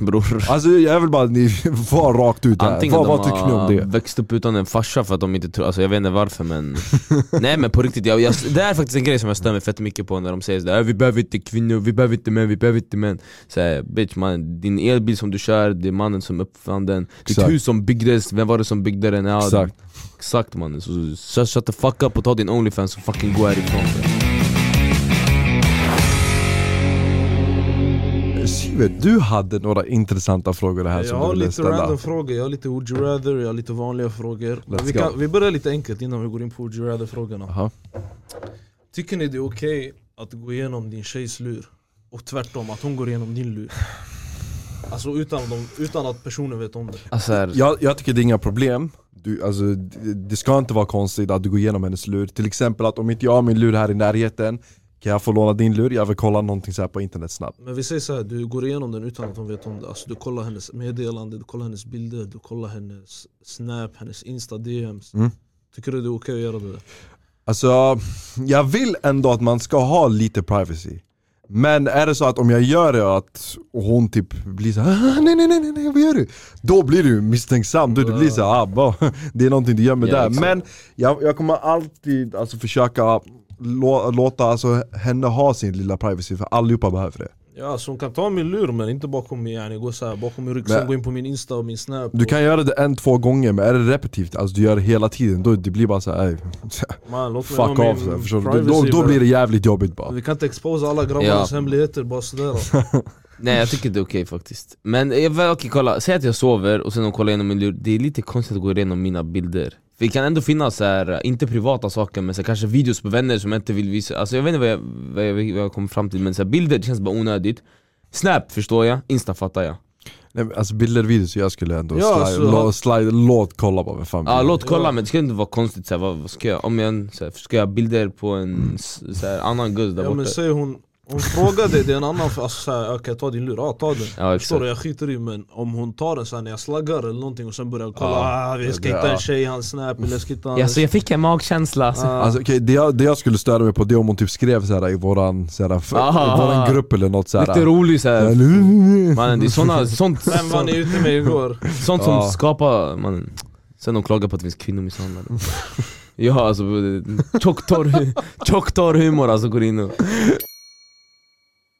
Speaker 4: bror
Speaker 1: Alltså jag vill bara att ni (laughs) var rakt ut här,
Speaker 4: Antingen
Speaker 1: vad, vad
Speaker 4: de
Speaker 1: tycker ni om
Speaker 4: har
Speaker 1: det?
Speaker 4: växt upp utan en farsa för att de inte tror, alltså jag vet inte varför men (laughs) Nej men på riktigt, jag, jag, det här är faktiskt en grej som jag stör mig fett mycket på när de säger sådär "Äh, Vi behöver inte kvinnor, vi behöver inte män, vi behöver inte män så här, Bitch man, din elbil som du kör, det är mannen som uppfann den
Speaker 1: Exakt.
Speaker 4: Ditt hus som byggdes, vem var det som byggde den? Ja,
Speaker 1: Exakt.
Speaker 4: exakt mannen, så, så shut the fuck up och ta din Onlyfans och fucking gå härifrån
Speaker 1: Sivert, du hade några intressanta frågor här
Speaker 2: Jag
Speaker 1: som du
Speaker 2: har
Speaker 1: ville
Speaker 2: lite
Speaker 1: ställa.
Speaker 2: random frågor, jag har lite would you rather, jag har lite vanliga frågor
Speaker 1: Let's
Speaker 2: vi,
Speaker 1: go.
Speaker 2: kan, vi börjar lite enkelt innan vi går in på would you rather frågorna
Speaker 1: Jaha.
Speaker 2: Tycker ni det är okej att gå igenom din tjejs lur? Och tvärtom, att hon går igenom din lur? Alltså utan, att de, utan att personen vet om det
Speaker 4: alltså, här,
Speaker 1: Jag, jag tycker det är inga problem. Du, alltså, det, det ska inte vara konstigt att du går igenom hennes lur. Till exempel att om inte jag har min lur här i närheten, kan jag få låna din lur? Jag vill kolla någonting så här på internet snabbt.
Speaker 2: Men vi säger så här, du går igenom den utan att hon vet om det Alltså du kollar hennes meddelande, du kollar hennes bilder, du kollar hennes snap, hennes insta DMs
Speaker 1: Mm.
Speaker 2: Tycker du det är okej att göra det? där?
Speaker 1: Alltså, jag vill ändå att man ska ha lite privacy. Men är det så att om jag gör det att hon typ blir så här, "Ah, nej nej nej nej, nej vad gör du? Då blir du misstänksam, du, du blir så här, ah, bara, (laughs) det är någonting du gömmer
Speaker 4: Ja,
Speaker 1: där.
Speaker 4: exakt.
Speaker 1: Men jag, jag kommer alltid alltså, försöka lå, låta alltså, henne ha sin lilla privacy, för allihopa behöver det.
Speaker 2: Ja, alltså hon kan ta min lur men inte bakom min, yani, gå så här, bakom min rygg,
Speaker 1: Men-
Speaker 2: sen gå in på min insta och min snap
Speaker 1: Du kan göra det en, två gånger, men är det repetitivt, alltså du gör det hela tiden, då det blir bara så här, "Ey, (laughs)
Speaker 2: och, man, låt mig ha
Speaker 1: fuck
Speaker 2: min
Speaker 1: off. så här, förstår du? Då,
Speaker 2: privacy,
Speaker 1: då
Speaker 2: men-
Speaker 1: blir det jävligt jobbigt bara.
Speaker 2: Vi kan inte exposa alla grabbarnas
Speaker 4: Ja.
Speaker 2: hemligheter
Speaker 1: (laughs)
Speaker 2: bara sådär
Speaker 4: Nej jag tycker det är okej faktiskt Men eh, väl, okej kolla, säg att jag sover och sen de kollar igenom min lur Det är lite konstigt att gå igenom mina bilder För det kan ändå finnas så här, eh, inte privata saker men så här, kanske videos på vänner som jag inte vill visa Alltså jag vet inte vad jag, vad jag, vad jag kommer fram till men så här, bilder det känns bara onödigt Snap förstår jag, Insta fattar jag
Speaker 1: Nej, men alltså bilder, videos, jag skulle ändå
Speaker 2: Ja,
Speaker 1: slide,
Speaker 2: alltså-
Speaker 1: lå, slide, låt kolla bara vem fan
Speaker 4: Ja
Speaker 1: blir det.
Speaker 4: låt kolla
Speaker 2: Mm. Ja.
Speaker 4: men det ska inte vara konstigt så här, vad, vad ska jag, om jag, så här, ska jag ha bilder på en s- så här, annan gud där
Speaker 2: Ja
Speaker 4: borta?
Speaker 2: men säg hon, Hon frågade, det är en annan för alltså, såhär, okej ta din lur, ja ta den
Speaker 4: Ja, exakt.
Speaker 2: Förstår du, jag skiter i men om hon tar den såhär när jag slaggar eller någonting och sen börjar kolla,
Speaker 4: Ja.
Speaker 2: ah, vi ska
Speaker 4: Ja.
Speaker 2: hitta en tjej i hans snap eller jag ska hitta
Speaker 4: Ja,
Speaker 2: hans...
Speaker 4: så jag fick en magkänsla.
Speaker 2: Ah.
Speaker 1: Alltså, okej, det, jag, det jag skulle störa mig på det är om hon typ skrev såhär i våran, såhär, f-
Speaker 4: Aha.
Speaker 1: i våran grupp eller något Äh,
Speaker 4: Lite
Speaker 1: såhär
Speaker 4: rolig såhär. Mannen det är
Speaker 2: (laughs)
Speaker 4: såna, sånt,
Speaker 2: Vem var ni
Speaker 4: sånt,
Speaker 2: ute med igår?
Speaker 4: sånt som
Speaker 1: Ja.
Speaker 4: skapar... Man, sen de klagar på att det finns kvinnomisshandlare. Ja alltså, tjock torr, tjock torr humor alltså går in och...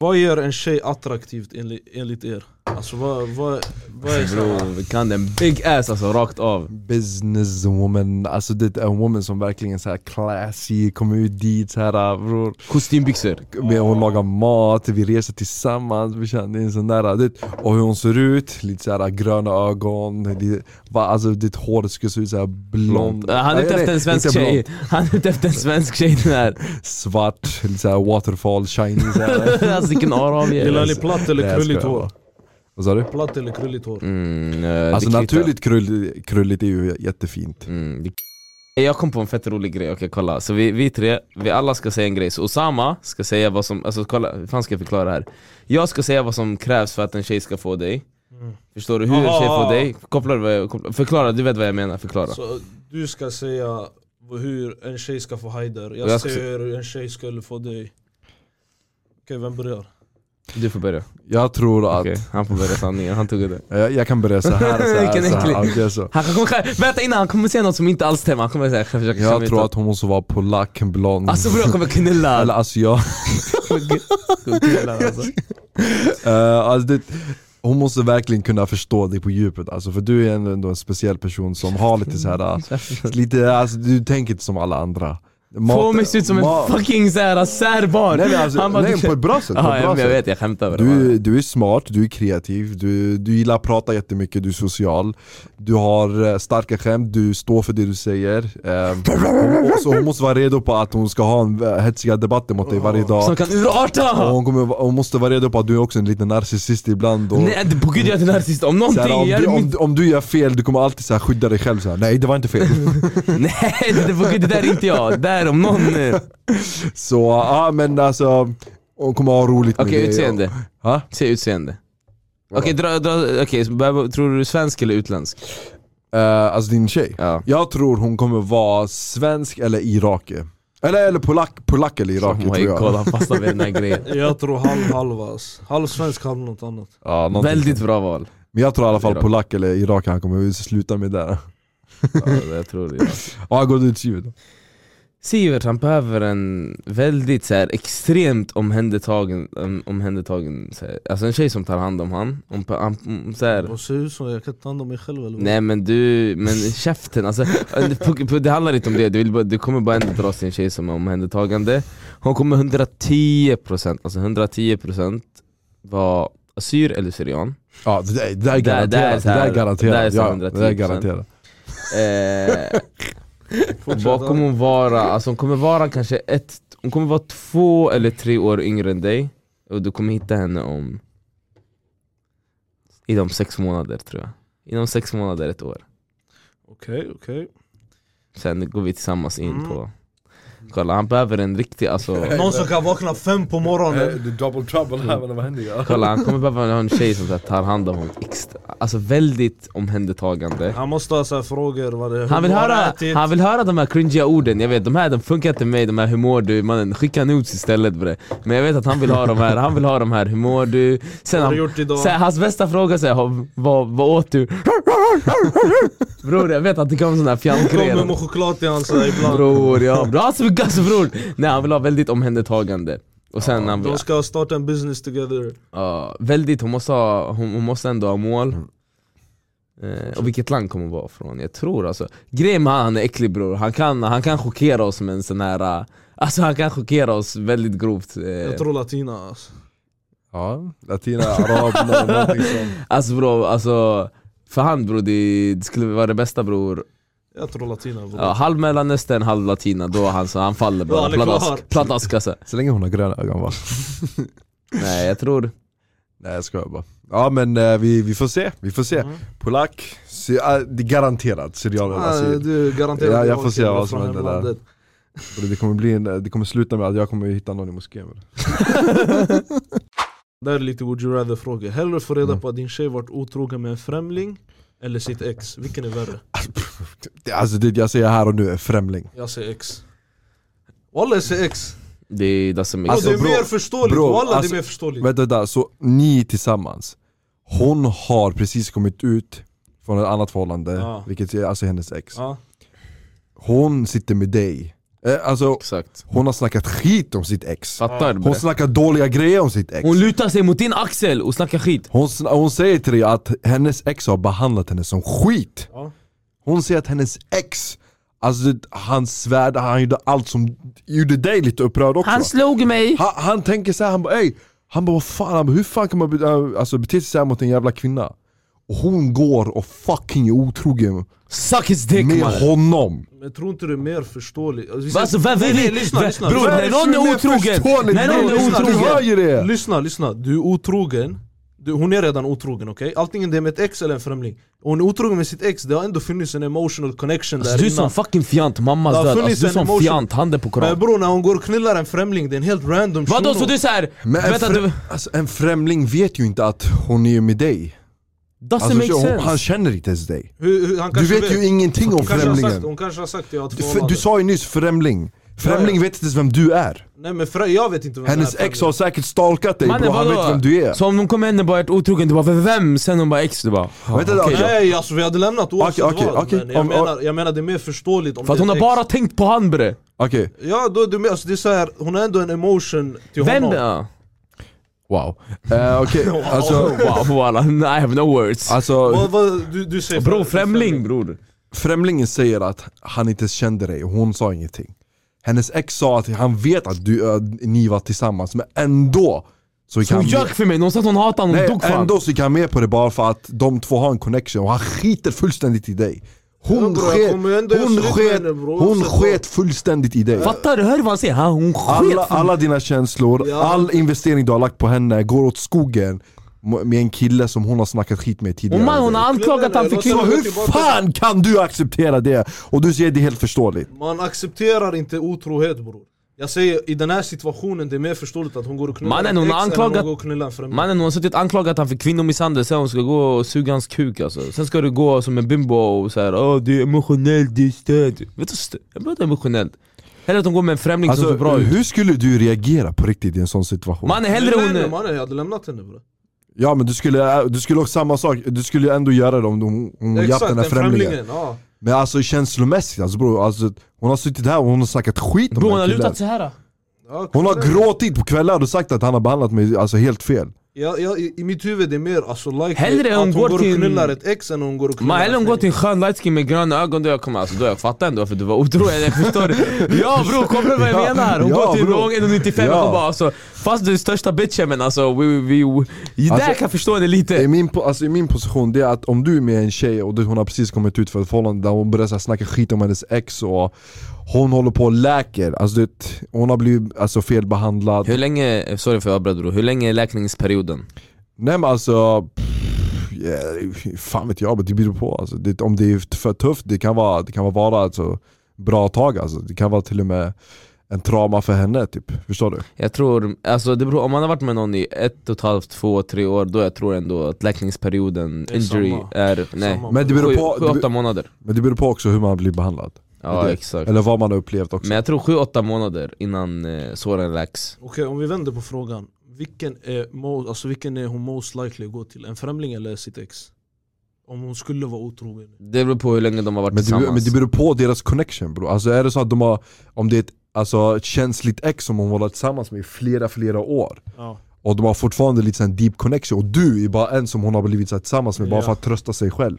Speaker 2: Vad gör en tjej attraktivt enligt, enligt er? Alltså vad, vad, vad är såhär...
Speaker 4: Bro, vi kan den big ass alltså rakt
Speaker 1: (laughs)
Speaker 4: av.
Speaker 1: Businesswoman, alltså det är en woman som verkligen såhär classy, kommer ut dit såhär bror
Speaker 4: Kostymbyxor.
Speaker 1: Men Hon lagar mat, vi reser tillsammans, vi känner det är en sån där, det, och hur hon ser ut, lite såhär gröna ögon, det, va, alltså ditt hår skulle se ut såhär blond
Speaker 4: Blond. Han är
Speaker 1: Nej,
Speaker 4: ute
Speaker 1: nej,
Speaker 4: efter en svensk
Speaker 1: inte blond.
Speaker 4: tjej. Han är ute efter en svensk tjej den här.
Speaker 1: Svart, lite såhär waterfall, shiny såhär
Speaker 4: (laughs) Alltså vilken arabier.
Speaker 2: Gillar ni platt
Speaker 1: Nej,
Speaker 2: eller
Speaker 1: jag
Speaker 2: krulligt
Speaker 1: skojar
Speaker 2: hår?
Speaker 1: Vad sa du?
Speaker 2: Platt eller krulligt hår?
Speaker 4: Mm, eh, det
Speaker 1: Alltså
Speaker 4: kvittar.
Speaker 1: naturligt krull, krulligt är ju jättefint
Speaker 4: Mm, det- jag kom på en fett rolig grej, okej kolla. Så vi, vi tre, vi alla ska säga en grej. Så Osama ska säga vad som, alltså kolla, hur fan ska jag förklara det här? Jag ska säga vad som krävs för att en tjej ska få dig.
Speaker 2: Mm.
Speaker 4: Förstår du hur en
Speaker 2: Aha.
Speaker 4: tjej får dig? Kopplar du vad jag, kopplar, förklara, du vet vad jag menar, förklara.
Speaker 2: Så du ska säga hur en tjej ska få Haider, jag,
Speaker 4: Jag ska
Speaker 2: säger hur en tjej skulle få dig Okej, vem börjar?
Speaker 4: Du får börja.
Speaker 1: Jag tror att,
Speaker 4: Okej, han får börja sanningen, han tog det.
Speaker 1: jag, jag kan börja såhär, såhär,
Speaker 4: (laughs) Vilken äcklig.
Speaker 1: såhär, okay, så.
Speaker 4: (laughs) Han kommer, själv- vänta innan, han kommer säga något som inte alls stämmer, han kommer säga jag försöker
Speaker 1: Jag
Speaker 4: känna
Speaker 1: tror
Speaker 4: ut-
Speaker 1: att hon måste vara polack, blond
Speaker 4: Alltså bror jag kommer (laughs) knulla!
Speaker 1: Eller alltså jag,
Speaker 4: Kommer knulla, alltså.
Speaker 1: Eh, alltså det, hon måste verkligen kunna förstå dig på djupet alltså, för du är ändå, ändå en speciell person som har lite
Speaker 4: (laughs)
Speaker 1: såhär, lite, alltså, du tänker inte som alla andra Mat-
Speaker 4: Få mig se ut som en
Speaker 1: mat-
Speaker 4: fucking såhär särbarn!
Speaker 1: Nej, men alltså,
Speaker 4: Han bara,
Speaker 1: nej
Speaker 4: du-
Speaker 1: på ett bra sätt, på
Speaker 4: Ja,
Speaker 1: ett
Speaker 4: jag,
Speaker 1: bra
Speaker 4: jag
Speaker 1: sätt.
Speaker 4: vet, jag skämtar över det.
Speaker 1: Du, du är smart, du är kreativ, du, du gillar att prata jättemycket, du är social Du har eh, starka skämt, du står för det du säger Ehm, och Så hon måste vara redo på att hon ska ha en eh, hetsiga debatter mot dig varje
Speaker 4: Som
Speaker 1: dag
Speaker 4: kan urarta!
Speaker 1: och hon, kommer, hon måste vara redo på att du är också en liten narcissist ibland och,
Speaker 4: Nej det- på gud jag är inte narcissist, om någonting
Speaker 1: Såhär, om,
Speaker 4: jag är
Speaker 1: du, om,
Speaker 4: min...
Speaker 1: du- om du gör fel, du kommer alltid såhär skydda dig själv såhär. Nej det var inte fel
Speaker 4: (laughs) Nej det, på gud, det där är inte jag, där
Speaker 1: (laughs)
Speaker 4: om någon... eh.
Speaker 1: Så ja men alltså Hon kommer ha roligt
Speaker 4: Okej
Speaker 1: med dig.
Speaker 4: utseende,
Speaker 1: Ha?
Speaker 4: säg utseende Okej, dra, dra, okej, så behöver- tror du svensk eller utländsk?
Speaker 1: Eh, alltså din tjej
Speaker 4: Ja.
Speaker 1: Jag tror hon kommer vara svensk eller iraker Eller, eller polack, polack eller iraker
Speaker 4: oh my
Speaker 1: tror jag
Speaker 4: god, han fastnar vid den här grejen
Speaker 2: Jag tror halv halva ass. halv svensk, halv något annat
Speaker 1: Ja, (laughs) någonting
Speaker 4: Väldigt
Speaker 1: sånt. (laughs)
Speaker 4: bra val
Speaker 1: Men jag tror i alla fall
Speaker 4: Irak.
Speaker 1: polack eller iraker han kommer sluta med där
Speaker 4: ja, jag tror det, ja.
Speaker 1: Ja gå ut ljud
Speaker 4: Sivert han behöver en väldigt så här, extremt omhändertagen, om, omhändertagen så här. Alltså en tjej som tar hand om han, om, om, så här,
Speaker 2: Och ser ut som jag kan ta hand om mig själv eller vad?
Speaker 4: Nej men du, men käften alltså, på- på- det handlar inte om det, du, vill, bara- du kommer bara ändå dras till en tjej som är omhändertagande Hon kommer 110%, alltså 110% vara assyr eller syrian
Speaker 1: Ja det där, det där är
Speaker 4: Där- där är
Speaker 1: garanterat,
Speaker 4: så här-
Speaker 1: det där är garanterat,
Speaker 4: där är så
Speaker 1: ja, det där är garanterat
Speaker 4: 110%. eh,
Speaker 2: Fortsätt.
Speaker 4: Vad kommer hon vara? Alltså hon kommer vara kanske ett, hon kommer vara två eller tre år yngre än dig Och du kommer hitta henne om Inom sex månader tror jag Inom sex månader, ett år
Speaker 2: Okej, okej
Speaker 4: Sen går vi tillsammans in
Speaker 2: Mm.
Speaker 4: på Kolla han behöver en riktig alltså
Speaker 2: (laughs) Någon som kan vakna fem på morgonen
Speaker 1: är double trouble här men vad händer?
Speaker 4: Kolla han kommer behöva ha en tjej som så här, tar hand om honom extra, Alltså väldigt omhändertagande
Speaker 2: Han måste ha så här frågor, vad det,
Speaker 4: han vill,
Speaker 2: hur du har
Speaker 4: höra,
Speaker 2: ätit.
Speaker 4: han vill höra de här cringiga orden, jag vet de här de funkar inte med mig, de här hur mår du, mannen skicka nudes istället bre Men jag vet att han vill ha de här, han vill ha de här hur mår du Sen
Speaker 2: Vad har du
Speaker 4: han,
Speaker 2: gjort idag?
Speaker 4: så här, hans bästa fråga är vad, vad åt du? Bror jag vet att det kommer sådana här
Speaker 2: Kommer
Speaker 4: fjantgrejer
Speaker 2: med choklad till han så här ibland
Speaker 4: Bror ja, bra alltså, alltså bror! Nej han vill ha väldigt omhändertagande och sen han vill,
Speaker 2: De ska starta en business together
Speaker 4: ja, väldigt, hon måste, ha, hon, hon måste ändå ha mål eh, Och vilket land kommer hon vara från? Jag tror alltså Grejen med han, han är äcklig bror, han kan, han kan chockera oss med en sån här eh, Alltså han kan chockera oss väldigt grovt eh.
Speaker 2: Jag tror latina alltså.
Speaker 1: Ja, latina, arab, nå- någonting sånt
Speaker 4: Alltså bror, alltså för han bror, det, det skulle vara det bästa bror
Speaker 2: Jag tror latina bror
Speaker 4: ja, Halv mellanöstern, halv latina, då han, så han
Speaker 2: Ja,
Speaker 4: faller bara,
Speaker 2: han är klar.
Speaker 4: pladask, pladask alltså.
Speaker 1: Så länge hon har gröna ögon va?
Speaker 4: Nej jag tror,
Speaker 1: Nej jag skojar bara Ja men eh, vi, vi får se, vi får
Speaker 4: Mm.
Speaker 1: se Polack, sy- ah, det är garanterat syrianer
Speaker 2: Ah,
Speaker 1: alltså,
Speaker 2: du garanterar
Speaker 1: Ja,
Speaker 2: att
Speaker 1: jag får
Speaker 2: var
Speaker 1: se
Speaker 2: kille
Speaker 1: vad som
Speaker 2: från
Speaker 1: händer
Speaker 2: hemlandet.
Speaker 1: Och det, kommer bli en, det kommer sluta med att jag kommer hitta någon i moskén. bror.
Speaker 2: Där är lite would you rather fråga. Hellre få reda
Speaker 1: Mm.
Speaker 2: på att din tjej varit otrogen med en främling eller sitt ex. Vilken är värre?
Speaker 1: Det- Alltså det jag säger här och nu är främling.
Speaker 2: Jag säger ex. Walla jag säger ex.
Speaker 4: Det doesn't make
Speaker 1: Alltså,
Speaker 2: Alltså, det är
Speaker 1: bro,
Speaker 2: mer förståeligt,
Speaker 1: bro,
Speaker 2: walla
Speaker 1: alltså-
Speaker 2: det är mer förståeligt.
Speaker 1: Vänta, vänta, så ni tillsammans, hon har precis kommit ut från ett annat förhållande,
Speaker 2: Ja.
Speaker 1: vilket är alltså hennes ex.
Speaker 2: ja.
Speaker 1: Hon sitter med dig, eh, alltså
Speaker 4: Exakt.
Speaker 1: hon har snackat skit om sitt ex.
Speaker 4: Fattar du?
Speaker 1: Hon snackar dåliga grejer om sitt ex.
Speaker 4: Hon lutar sig mot din axel och snackar skit.
Speaker 1: Hon, sn- hon säger till dig att hennes ex har behandlat henne som skit.
Speaker 2: Ja.
Speaker 1: Hon säger att hennes ex, alltså det- han svärde, han gjorde allt som gjorde dig lite upprörd också.
Speaker 4: Han slog mig!
Speaker 1: han, han tänker så här, han bara ey, han bara vad fan, han bara, hur fan kan man be, äh, alltså, bete sig så här mot en jävla kvinna? Och hon går och fucking är otrogen
Speaker 4: Suck his dick
Speaker 1: med
Speaker 4: mannen!
Speaker 1: honom!
Speaker 2: Men tror inte det är mer förståeligt? Alltså, vi säger-
Speaker 4: Alltså vem
Speaker 2: Nej,
Speaker 4: vill...
Speaker 2: nej, lyssna,
Speaker 4: vem-
Speaker 2: lyssna.
Speaker 4: Bror,
Speaker 2: Lyssna,
Speaker 1: Vad är
Speaker 4: när
Speaker 1: det
Speaker 4: någon
Speaker 1: som
Speaker 4: är
Speaker 1: mer
Speaker 4: otrogen...
Speaker 1: förståeligt?
Speaker 4: När någon
Speaker 1: Bro,
Speaker 4: är
Speaker 1: lyssna, Du hör
Speaker 4: otrogen...
Speaker 1: ju det!
Speaker 2: lyssna, lyssna. Du är otrogen. Du, hon är redan otrogen, okej? Antingen det är med ett ex eller en främling. Och hon är otrogen med sitt ex, det har ändå funnits en emotional connection
Speaker 4: Alltså,
Speaker 2: där
Speaker 4: du är som
Speaker 2: innan.
Speaker 4: fucking fjant, mammas
Speaker 2: Det har
Speaker 4: död.
Speaker 2: funnits
Speaker 4: Alltså, du är
Speaker 2: en
Speaker 4: som
Speaker 2: emotion.
Speaker 4: fjant, handen på
Speaker 2: Men
Speaker 4: koran.
Speaker 2: bror, när hon går och knullar en främling, det är en helt random
Speaker 4: Vadå
Speaker 2: shuno.
Speaker 4: så du är såhär...
Speaker 1: Men en,
Speaker 4: Vänta du...
Speaker 1: frä- alltså, en främling vet ju inte att hon är med dig.
Speaker 4: Doesn't
Speaker 1: Alltså,
Speaker 4: make
Speaker 1: hon, han
Speaker 4: sense.
Speaker 1: känner inte ens dig.
Speaker 2: Hur, hur, han
Speaker 1: Du
Speaker 2: kanske
Speaker 1: vet ju ingenting om
Speaker 2: hon kanske, har sagt,
Speaker 1: främlingen.
Speaker 2: hon kanske har sagt jag har
Speaker 1: Du,
Speaker 2: två
Speaker 1: för,
Speaker 2: månader.
Speaker 1: du sa ju nyss främling. Främling
Speaker 2: Ja,
Speaker 1: vet inte ens vem du är.
Speaker 2: Nej men frä, jag vet inte vem
Speaker 1: Hennes
Speaker 2: den här
Speaker 1: ex har säkert stalkat dig bror, han vet inte vem du är.
Speaker 4: Så om någon kommer hem och bara är otrogen, du bara vem? Sen hon bara ex, du bara... ah,
Speaker 1: Vänta,
Speaker 4: okej.
Speaker 1: okej.
Speaker 2: Nej alltså vi hade lämnat oavsett
Speaker 1: Okej, okej,
Speaker 2: vad,
Speaker 1: okej.
Speaker 2: men jag,
Speaker 1: Om- om-
Speaker 2: menar, jag menar det är mer förståeligt om
Speaker 4: För att
Speaker 2: det är
Speaker 4: hon har
Speaker 2: ett
Speaker 4: bara
Speaker 2: ex.
Speaker 4: tänkt på han bre.
Speaker 1: Okej,
Speaker 2: Ja, då, är det, mer- alltså, det är så här, hon har ändå en emotion till
Speaker 4: Vem?
Speaker 2: honom
Speaker 4: ja.
Speaker 1: wow. Eh, okej, alltså,
Speaker 4: (laughs) Wow, walla, I have no words.
Speaker 1: alltså
Speaker 2: vad, vad, du, du säger
Speaker 4: Bro, främling bror.
Speaker 1: främlingen säger att han inte kände dig och hon sa ingenting. Hennes ex sa att han vet att du, äh, ni var tillsammans men ändå så gick
Speaker 4: Hon
Speaker 1: han
Speaker 4: ljög
Speaker 1: med.
Speaker 4: för mig, någon sa att hon hatade honom, hon
Speaker 1: Nej,
Speaker 4: dog för honom.
Speaker 1: ändå så gick han med på det bara för att de två har en connection och han skiter fullständigt i dig.
Speaker 2: Ja,
Speaker 1: Hon
Speaker 2: bror, jag
Speaker 1: sket,
Speaker 2: kommer ändå göra
Speaker 1: hon
Speaker 2: slut med Alltså-
Speaker 1: sket,
Speaker 2: henne, bror,
Speaker 1: hon
Speaker 2: oavsett vad.
Speaker 1: sket fullständigt i dig.
Speaker 4: Fattar du? Hör du vad han säger? Han, hon sket
Speaker 1: Alla,
Speaker 4: för
Speaker 1: alla dina känslor,
Speaker 2: Ja.
Speaker 1: all investering du har lagt på henne går åt skogen m- med en kille som hon har snackat skit med tidigare.
Speaker 4: Och man, hon har anklagat han för
Speaker 1: Så
Speaker 2: Hon har
Speaker 4: kvinnor.
Speaker 2: gått
Speaker 1: hur
Speaker 2: tillbaka.
Speaker 1: fan kan du acceptera det? Och du säger det är helt förståeligt.
Speaker 2: Man accepterar inte otrohet bror Jag säger i den här situationen det är mer förståeligt att hon går och knullar
Speaker 4: Mannen,
Speaker 2: en
Speaker 4: hon
Speaker 2: ex
Speaker 4: har
Speaker 2: än att
Speaker 4: anklagat-
Speaker 2: hon går och knullar en främling
Speaker 4: Mannen hon har suttit anklagat han för kvinnomisshandel, sen hon ska gå och suga hans kuk alltså. Sen ska du gå som en bimbo och såhär åh du är emotionell, du är stöd. Vet du vad stöd? Jag pratar emotionellt. Hellre att hon går med en främling som
Speaker 1: Alltså,
Speaker 4: ser bra ut.
Speaker 1: hur skulle du reagera på riktigt i en sån situation?
Speaker 4: Mannen
Speaker 2: Nej,
Speaker 4: hellre
Speaker 2: nej, nej,
Speaker 4: hon...
Speaker 2: mannen, jag hade lämnat henne bror
Speaker 1: Ja men du skulle, äh, du skulle också samma sak, du skulle ju ändå göra det om hon, hon
Speaker 2: Exakt,
Speaker 1: japp den här främlingen.
Speaker 2: ja.
Speaker 1: Men alltså känslomässigt, alltså, bro, alltså, hon har suttit här och hon har snackat skit om
Speaker 4: Bror hon
Speaker 1: den
Speaker 4: har
Speaker 1: killen.
Speaker 4: lutat så här.
Speaker 2: Ja,
Speaker 1: Hon
Speaker 2: kolla.
Speaker 1: har gråtit på kvällar och sagt att han har behandlat mig alltså, helt fel.
Speaker 2: ja, ja, i, I mitt huvud är det mer alltså like
Speaker 4: Hellre
Speaker 2: att
Speaker 4: hon
Speaker 2: hon
Speaker 4: går
Speaker 2: går och
Speaker 4: till-
Speaker 2: knullar ett ex än hon går och knullar
Speaker 4: Man hellre
Speaker 2: en
Speaker 4: hon går
Speaker 2: främling.
Speaker 4: till en skön lightskin med gröna ögon då jag kommer alltså då jag fattar ändå varför du var otrogen, jag
Speaker 1: (laughs)
Speaker 4: förstår Ja bror, kommer du vad jag
Speaker 1: Ja,
Speaker 4: menar? Hon
Speaker 1: ja,
Speaker 4: går till
Speaker 1: bror.
Speaker 4: någon 1,95
Speaker 1: Ja.
Speaker 4: och hon bara alltså Fast du är största bitchen men alltså we, we, we, Där
Speaker 1: Alltså,
Speaker 4: kan jag förstå henne
Speaker 1: I
Speaker 4: lite
Speaker 1: min, po- alltså, I min position, det är att om du är med en tjej och du- hon har precis kommit ut för ett förhållande där hon börjar så här, snacka skit om hennes ex och hon håller på och läker, alltså, det, hon har blivit alltså, felbehandlad.
Speaker 4: Hur länge, sorry för att jag avbröt bror, hur länge är läkningsperioden?
Speaker 1: Nej men alltså, pff, ja, fan vet jag men det beror på. Alltså, det, om det är för tufft, det kan vara, det kan vara bara alltså, bra tag alltså. Det kan vara till och med en trauma för henne typ, förstår du?
Speaker 4: Jag tror, alltså det beror, om man har varit med någon i ett och ett halvt, två, tre år då jag tror ändå att läkningsperioden,
Speaker 2: Det är
Speaker 4: injury,
Speaker 2: samma.
Speaker 4: är nej,
Speaker 2: Samma.
Speaker 1: Men det beror
Speaker 4: sju,
Speaker 1: på,
Speaker 4: sju,
Speaker 1: det,
Speaker 4: åtta
Speaker 1: beror-
Speaker 4: månader
Speaker 1: men det beror på också hur man blir behandlad.
Speaker 4: Ja
Speaker 1: Det-
Speaker 4: exakt,
Speaker 1: Eller vad man har upplevt också.
Speaker 4: men jag tror sju, åtta månader innan eh, såren läks
Speaker 2: Okej, om vi vänder på frågan. Vilken är, mo- alltså, vilken är hon most likely att gå till? En främling eller sitt ex? Om hon skulle vara otrogen.
Speaker 4: Det beror på hur länge de har varit
Speaker 1: Men det, beror-
Speaker 4: tillsammans
Speaker 1: men det beror på deras connection bro. Alltså är det så att de har, om det är ett alltså, ett känsligt ex som hon varit tillsammans med i flera flera år
Speaker 2: Ja.
Speaker 1: och de har fortfarande lite sån deep connection och du är bara en som hon har blivit så här tillsammans med bara
Speaker 2: Ja.
Speaker 1: för att trösta sig själv.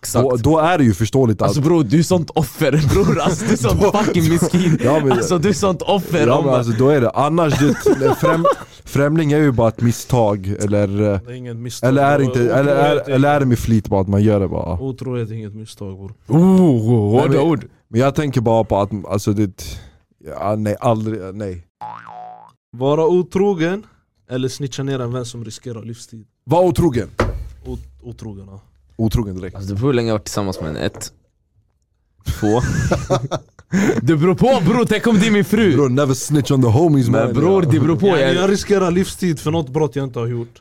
Speaker 4: Exakt.
Speaker 1: Då, då är det ju förståeligt att
Speaker 4: Alltså bror, du är sånt offer (laughs) bror, alltså, du är sånt fucking miskin
Speaker 1: (laughs) Ja, men-
Speaker 4: Alltså du är sånt offer
Speaker 1: Ja
Speaker 4: om,
Speaker 1: men alltså då är det, annars det, främ, främling är ju bara ett misstag eller, eh,
Speaker 2: Det är inget misstag.
Speaker 1: eller är det inte,
Speaker 2: Otrohet
Speaker 1: eller är, eller är det med flit bara att man gör det bara?
Speaker 2: Otrohet är inget misstag bror.
Speaker 4: oh,
Speaker 1: Nej, men-
Speaker 4: hårda ord
Speaker 1: Men jag tänker bara på att, alltså det, ja, nej aldrig, nej
Speaker 2: Vara otrogen eller snitcha ner en vän som riskerar livstid.
Speaker 1: Var otrogen!
Speaker 2: Ot- otrogen ja.
Speaker 1: Otrogen direkt
Speaker 4: Alltså det beror på hur länge jag har varit tillsammans med en, ett
Speaker 1: (laughs)
Speaker 4: Två. det beror på bror, tänk om det är min fru!
Speaker 1: Bror, never snitch on the homies man.
Speaker 4: Men bror, det beror på.
Speaker 2: Jag, jag
Speaker 4: Jag...
Speaker 2: riskerar livstid för något brott jag inte har
Speaker 1: (laughs)
Speaker 2: gjort.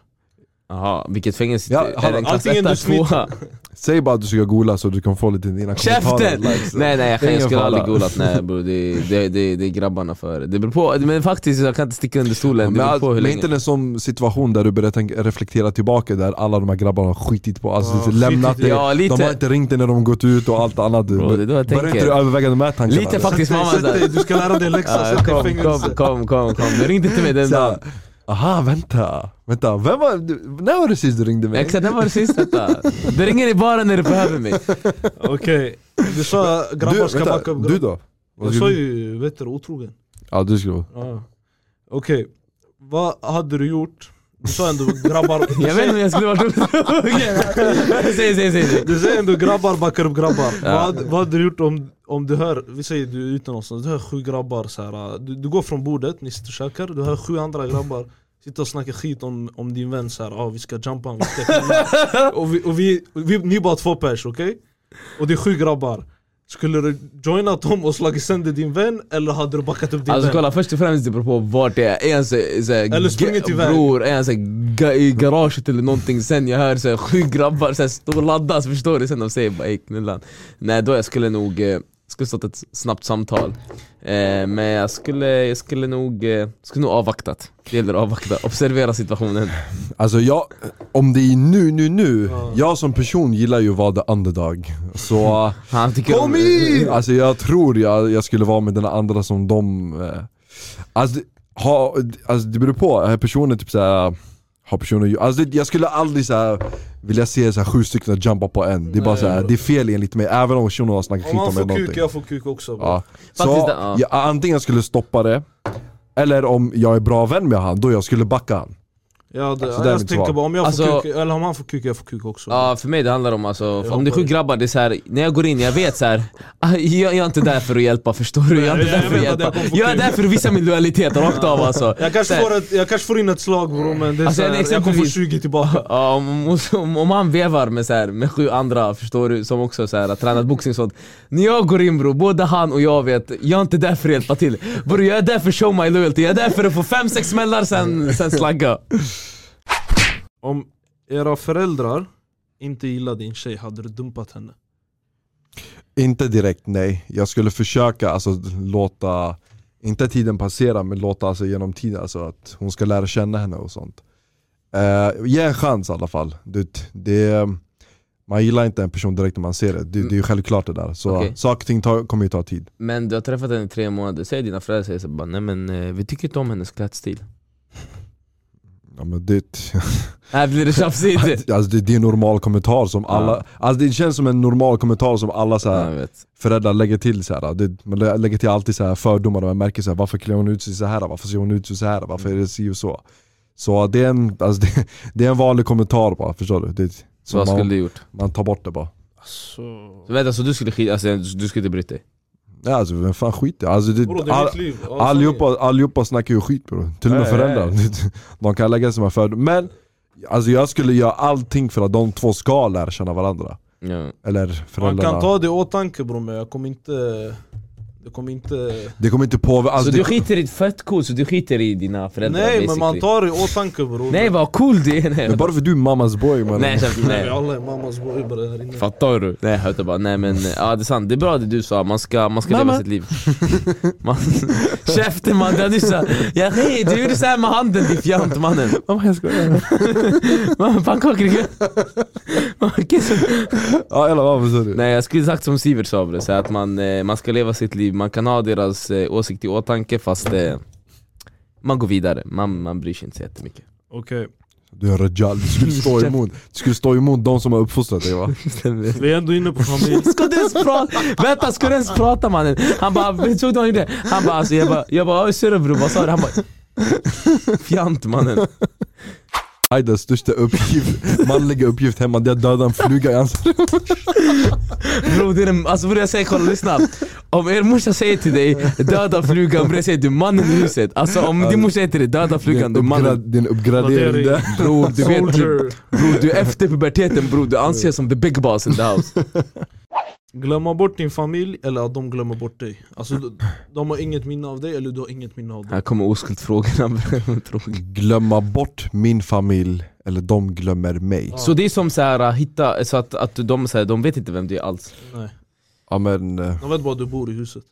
Speaker 4: Aha, vilket fängelse?
Speaker 1: Ja,
Speaker 4: är det en klass
Speaker 2: allting
Speaker 4: etta,
Speaker 2: du snittar.
Speaker 4: tvåa?
Speaker 1: Säg bara att du ska gola så du kan få lite dina kommentarer.
Speaker 4: Käften!
Speaker 1: likes. eh.
Speaker 4: Nej nej, jag,
Speaker 1: Det är
Speaker 4: jag
Speaker 1: ingen
Speaker 4: skulle
Speaker 1: fara.
Speaker 4: aldrig golat. Nej bror, det, det, det, det är grabbarna före. Det beror på, men faktiskt jag kan inte sticka under stolen. Det
Speaker 1: Men,
Speaker 4: beror
Speaker 1: all,
Speaker 4: på hur
Speaker 1: men
Speaker 4: länge.
Speaker 1: inte en sån situation där du börjar tänka, reflektera tillbaka där alla de här grabbarna har skitit på, alltså
Speaker 2: Ja,
Speaker 1: lämnat
Speaker 2: skitit
Speaker 1: dig,
Speaker 2: i-
Speaker 4: Ja, lite.
Speaker 1: de har inte ringt dig när de gått ut och allt annat. Du,
Speaker 4: Bro, det är då jag
Speaker 1: börjar inte
Speaker 4: tänker.
Speaker 1: du överväga de här tankarna?
Speaker 4: Lite
Speaker 1: eller?
Speaker 4: fuck- Faktiskt,
Speaker 2: Sätt dig,
Speaker 4: mamma,
Speaker 2: sätt
Speaker 4: där.
Speaker 2: dig, du ska lära dig läxa,
Speaker 4: Ja,
Speaker 1: Alltså,
Speaker 2: sätt dig i
Speaker 4: kom, kom,
Speaker 2: fängelse.
Speaker 4: kom, kom, kom. Du ringde till mig den
Speaker 1: Så här,
Speaker 4: dagen.
Speaker 1: Aha, vänta, vänta, vem var, du, när var det sist du ringde mig?
Speaker 4: Exakt, det var det sista. detta. Du ringer i bara när du behöver mig.
Speaker 2: Okej, du sa grabbar
Speaker 1: du,
Speaker 2: ska backa upp.
Speaker 1: du då?
Speaker 2: Jag sa ju vet du, otrogen.
Speaker 1: Ja du skulle
Speaker 2: Ja. Okej, vad hade du gjort? Du sa ändå grabbar...
Speaker 4: (laughs) Jag vet inte om jag skulle varit (laughs) otrogen. Säg, säg, säg. säg.
Speaker 2: Du säger ändå grabbar backar upp grabbar.
Speaker 4: Ja.
Speaker 2: Vad, vad hade du gjort om, om du hör, vi säger du är ute någonstans, du hör sju grabbar så här. äh, Du, du går från bordet, ni sitter och käkar, du hör sju andra grabbar sitta och snacka skit om, om din vän såhär, ah, vi ska jumpa, vi ska
Speaker 4: (laughs)
Speaker 2: knulla." och, vi, och, vi, och vi, ni är bara två pers, okej? Och det är sju grabbar. Skulle du joinat dem och slagit sönder din vän eller hade du backat upp din
Speaker 4: Alltså
Speaker 2: vän?
Speaker 4: kolla, först och främst det beror på vart det är. Är han så, så,
Speaker 2: Eller sprungit iväg.
Speaker 4: Bror, är han så, ga, i garaget eller någonting. Sen jag hör så, sju grabbar så, stå och laddas, förstår du? Sen de säger bara ey knullan. Nej då jag skulle nog, eh, skulle stått ett snabbt samtal. Eh, men jag skulle, jag skulle nog, eh, skulle nog avvaktat. Det gäller att avvakta, observera situationen.
Speaker 1: Alltså jag, om det är nu, nu, nu,
Speaker 2: Ja.
Speaker 1: jag som person gillar ju att vara the underdog Så,
Speaker 4: Han tycker om-
Speaker 1: Alltså jag tror jag, jag skulle vara med den andra som de eh, Alltså, ha, alltså det beror på, är personen typ såhär har personen, alltså det, jag skulle aldrig såhär vilja se så här sju stycken jumpa på en, det är bara
Speaker 2: Nej,
Speaker 1: såhär,
Speaker 2: bro.
Speaker 1: det är fel enligt mig även om personen har snackat skit
Speaker 2: Om
Speaker 1: om
Speaker 2: han
Speaker 1: mig
Speaker 2: får
Speaker 1: någonting
Speaker 2: kuk, jag får kuk också. bro.
Speaker 1: Ja. Så
Speaker 4: Faktiskt, ja.
Speaker 1: jag, antingen skulle jag stoppa det, eller om jag är bra vän med han, då jag skulle backa han.
Speaker 2: Ja, det,
Speaker 1: Så där är
Speaker 2: jag
Speaker 1: mitt
Speaker 2: tänker
Speaker 1: svar.
Speaker 2: bara om jag får
Speaker 4: Alltså-
Speaker 2: kuk, eller om han får kuk, jag får kuk också.
Speaker 4: Ja för mig det handlar om alltså, om det är
Speaker 2: hoppar
Speaker 4: sju
Speaker 2: i.
Speaker 4: grabbar, det är så här, när jag går in, jag vet så här, (laughs) ah, jag, jag är inte där för att hjälpa förstår du? Jag är
Speaker 2: Nej,
Speaker 4: inte
Speaker 2: jag
Speaker 4: där för att
Speaker 2: vet att
Speaker 4: hjälpa.
Speaker 2: jag kommer få
Speaker 4: Jag är
Speaker 2: kul.
Speaker 4: där för att visa min lojalitet rakt av alltså.
Speaker 2: Jag kanske, får ett, jag kanske får in ett slag bror men det är
Speaker 4: Alltså,
Speaker 2: såhär,
Speaker 4: en
Speaker 2: jag kommer få
Speaker 4: exempelvis-
Speaker 2: 20 tillbaka
Speaker 4: Ja, om, om, om han vevar med, så här, med sju andra, förstår du, som också så här, har tränat boxning och sånt. När jag går in bro, både han och jag vet, jag är inte där för att hjälpa till. Bror jag är där för att show my loyalty, jag är där för att få fem, sex smällar sen, sen slagga.
Speaker 2: Om era föräldrar inte gillar din tjej, hade du dumpat henne?
Speaker 1: Inte direkt nej, jag skulle försöka alltså, låta, inte tiden passera men låta alltså, genom tiden, alltså, att hon ska lära känna henne och sånt. Eh, ge en chans i alla fall. Det, det, man gillar inte en person direkt när man ser det, det, det är ju självklart det där. Så
Speaker 4: Mm. Okej.
Speaker 1: saker och ting tar, kommer ju ta tid.
Speaker 4: Men du har träffat henne i tre månader, säger dina föräldrar säger så bara, nej men eh, vi tycker inte om hennes klädstil.
Speaker 1: Ja, men det, (laughs)
Speaker 4: Här blir det (laughs) tjafsigt.
Speaker 1: alltså, det, det är en normal kommentar som alla,
Speaker 4: Ja.
Speaker 1: alltså, det känns som en normal kommentar som alla så här,
Speaker 4: Ja, jag vet.
Speaker 1: föräldrar lägger till så här, det, man lä- lägger till alltid så här fördomar och man märker så här, varför klär hon ut sig så här? varför ser hon ut så här? varför
Speaker 4: Mm.
Speaker 1: är det si och så? Så det är en, alltså det, det är en vanlig kommentar bara, förstår du? Det, så
Speaker 4: Vad
Speaker 1: man,
Speaker 4: skulle du gjort?
Speaker 1: man tar bort det bara.
Speaker 2: Alltså...
Speaker 4: Så vänta, så du skulle skita, alltså, du skulle inte bryta dig?
Speaker 1: Ja, alltså vem fan skiter alltså, det,
Speaker 2: Bror det är
Speaker 1: all,
Speaker 2: mitt liv Alltså, Ja,
Speaker 1: allihopa, allihopa snackar ju skit bror, till och med
Speaker 4: Nej,
Speaker 1: föräldrar. (laughs) De kan lägga sina fördomar. Men alltså, jag skulle göra allting för att de två ska lära känna varandra.
Speaker 4: Ja.
Speaker 1: Eller
Speaker 2: sanningen. Man
Speaker 1: föräldrarna.
Speaker 2: kan ta det i åtanke bror men jag kommer inte... Jag kommer inte...
Speaker 1: Det kommer inte påverka, alltså,
Speaker 4: så du
Speaker 1: det,
Speaker 4: skiter i, fett cool, så du skiter i dina föräldrar
Speaker 2: Nej men man
Speaker 4: basically.
Speaker 2: tar det i åtanke bror
Speaker 4: Nej vad cool det är! Nej,
Speaker 1: men bara för du är mammas boy man.
Speaker 4: nej, käft,
Speaker 2: Nej,
Speaker 4: nej.
Speaker 2: vi (laughs) alla är mammas boybare här inne
Speaker 4: Fattar du? Nej jag hörde bara, nej men ja det är sant, det är bra det du sa, man ska, man ska leva
Speaker 1: Mamma.
Speaker 4: sitt liv man, Käften man, det du sa, ja, hej, du gjorde såhär med handen din fjant mannen
Speaker 1: Mamma jag
Speaker 4: (laughs)
Speaker 1: skojar.
Speaker 4: Man, pannkakor i
Speaker 1: (laughs)
Speaker 4: kväll.
Speaker 1: Ja eller vad sa du?
Speaker 4: Nej jag skulle sagt som Sivert sa bre, så att man, eh, man ska leva sitt liv, man kan ha deras eh, åsikt i åtanke fast eh, man går vidare, man, man bryr sig inte så jättemycket
Speaker 2: Okej,
Speaker 1: Du är Rajal, du skulle stå emot, du skulle stå emot de som har uppfostrat dig va?
Speaker 2: vi är ändå inne
Speaker 4: (laughs)
Speaker 2: på familj
Speaker 4: (laughs) Ska du ens prata? Vänta, ska du ens prata mannen? Han bara, vet du vad han gjorde? Han bara, alltså, jag bara, jag bara "Oj, syrra bror, vad sa du? Han bara, fjant mannen.
Speaker 1: Aidas största
Speaker 4: (laughs)
Speaker 1: uppgift, manliga uppgift hemma det är att döda en fluga i hans
Speaker 4: Bror, det är den, alltså bror jag säger, kolla lyssna. Om er morsa säger till dig, döda flugan, bror jag säger du är mannen i huset. Alltså om din morsa säger till dig, döda
Speaker 1: Det är
Speaker 4: flugan,
Speaker 1: en
Speaker 4: du är
Speaker 1: uppgra-
Speaker 4: mannen.
Speaker 1: det är en uppgradering
Speaker 2: Gradering.
Speaker 1: där.
Speaker 4: Bror, du vet,
Speaker 2: Soldier
Speaker 4: (laughs) bror, du är efter puberteten bror, du anses som the big boss in the house.
Speaker 2: glömma bort din familj eller att de glömmer bort dig. Alltså de- de har inget minne av dig eller du har inget minne av dem.
Speaker 4: Här kommer oskuldfrågorna. Tråkigt.
Speaker 1: Glömma bort min familj, eller de glömmer mig.
Speaker 2: Ja.
Speaker 4: så det är som så här, äh, hitta, så att, att de, så här, de vet inte vem du är alls.
Speaker 2: Nej.
Speaker 1: Ja men, eh, alltså,
Speaker 2: De vet bara att du bor i huset.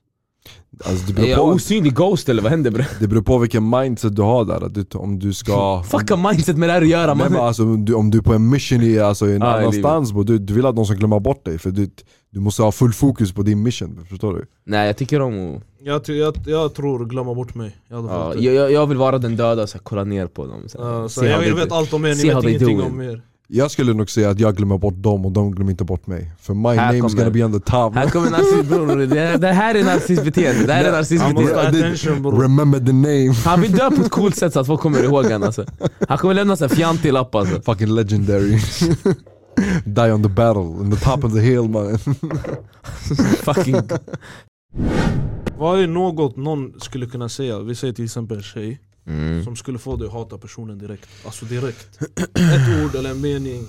Speaker 1: det,
Speaker 4: Är
Speaker 1: beror
Speaker 4: jag
Speaker 1: på,
Speaker 4: osynlig ghost eller vad händer bre?
Speaker 1: det beror på vilken mindset du har där. Att du, om du ska...
Speaker 4: Fucka mindset med det här att göra
Speaker 1: Nej, men
Speaker 4: man.
Speaker 1: alltså, om, du, om du är på en mission i, alltså, i en
Speaker 4: Ja, i
Speaker 1: annanstans, bro, du, du vill att någon ska glömma bort dig. För du, du måste ha full fokus på din mission, förstår du?
Speaker 4: Nej jag tycker om att...
Speaker 2: Jag, ty- jag, jag tror glömma bort mig. Jag hade
Speaker 4: Ja,
Speaker 2: valt det.
Speaker 4: jag, jag- jag vill vara den döda, så här, kolla ner på dem. Så här,
Speaker 2: Ja, så
Speaker 4: se
Speaker 2: jag
Speaker 4: how
Speaker 2: jag
Speaker 4: they
Speaker 2: vet
Speaker 4: do.
Speaker 2: allt om er,
Speaker 4: See
Speaker 2: ni
Speaker 4: how
Speaker 2: vet
Speaker 4: they
Speaker 2: ingenting
Speaker 4: do
Speaker 2: om er.
Speaker 1: Jag skulle nog säga att jag glömmer bort dem och de glömmer inte bort mig. För my
Speaker 4: Här
Speaker 1: name is
Speaker 4: kommer-
Speaker 1: gonna be on the top.
Speaker 4: Här kommer narcissist bror, det, det här är narcissistbeteende. Det här är
Speaker 2: Han måste
Speaker 4: narcissistbeteende.
Speaker 2: ha
Speaker 1: Ja, det-
Speaker 2: attention bror.
Speaker 1: Remember the name,
Speaker 4: Han vill dö på ett coolt sätt så att folk kommer ihåg honom alltså. Han kommer lämna en fjantig lapp alltså.
Speaker 1: fucking legendary. Die on the battle, on the top of the hill mannen.
Speaker 4: Fucking...
Speaker 2: Vad är något någon skulle kunna säga? Vi säger till exempel en tjej
Speaker 4: Mm.
Speaker 2: som skulle få dig att hata personen direkt. Alltså direkt. Ett ord eller en mening.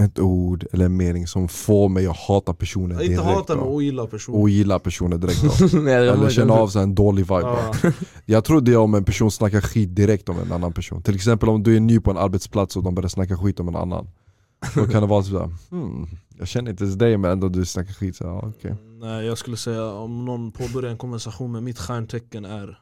Speaker 1: Ett ord eller en mening som får mig att hata personen direkt.
Speaker 2: Inte hata men
Speaker 1: då.
Speaker 2: ogilla personen.
Speaker 1: Ogilla personen direkt då.
Speaker 4: (laughs) Nej, det var-
Speaker 1: Eller känna av så här en dålig vibe.
Speaker 2: Ja.
Speaker 1: (laughs) Jag tror det är om en person snackar skit direkt om en annan person. Till exempel om du är ny på en arbetsplats och de börjar snacka skit om en annan. Då kan det vara sådär, hmm, jag känner inte ens dig men ändå du snackar skit. Så, ja, okej.
Speaker 2: Nej jag skulle säga om någon påbörjar en konversation med mitt stjärntecken är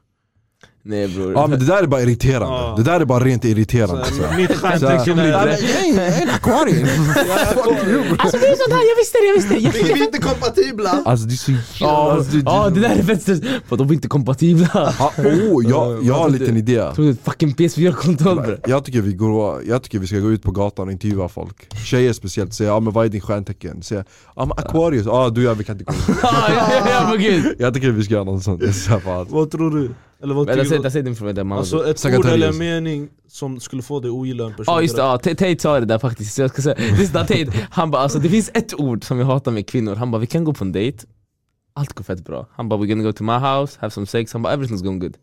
Speaker 4: Nej bror.
Speaker 1: Ja men det där är bara irriterande.
Speaker 2: Ja.
Speaker 1: Det där är bara rent
Speaker 2: så
Speaker 1: irriterande. Så.
Speaker 2: här, Mitt
Speaker 1: Så
Speaker 2: stjärntecken
Speaker 4: här-
Speaker 2: är
Speaker 1: är en akvarie!
Speaker 4: Alltså det är sådär, jag visste det, jag visste det! Jag
Speaker 3: Vi är inte kompatibla!
Speaker 1: Alltså det är så
Speaker 4: Ja,
Speaker 1: alltså,
Speaker 4: ja, det där är vänster... För de är inte kompatibla!
Speaker 1: Ja, oh, jag, jag har en liten idé.
Speaker 4: Tror du det är fucking PS4-kontroll bre?
Speaker 1: Jag tycker, vi går, jag tycker vi ska gå ut på gatan och intervjua folk. Tjejer speciellt, säga ah, men vad är din stjärntecken? Säga ah, men Aquarius, ah, du och jag vi kan inte gå ut.
Speaker 4: (laughs) Ja, ja, ja, men gud!
Speaker 1: Jag tycker vi ska göra något sånt. Det är så här, fan.
Speaker 2: Vad tror du? Eller vad
Speaker 4: Vänta,
Speaker 2: tycker
Speaker 4: säg-
Speaker 2: du?
Speaker 4: säg din fråga där mannen.
Speaker 2: Alltså ett ord
Speaker 1: Sagittarius.
Speaker 2: eller en mening som skulle få dig att ogilla en person
Speaker 4: Ja just det,
Speaker 2: direkt.
Speaker 4: ja, T- Tate sa det där faktiskt, så jag ska säga, lyssna Tate, han bara alltså det finns ett ord som jag hatar med kvinnor, han bara vi kan gå på en dejt, allt går fett bra. Han bara we're gonna go to my house, have some sex, han bara everything's going good.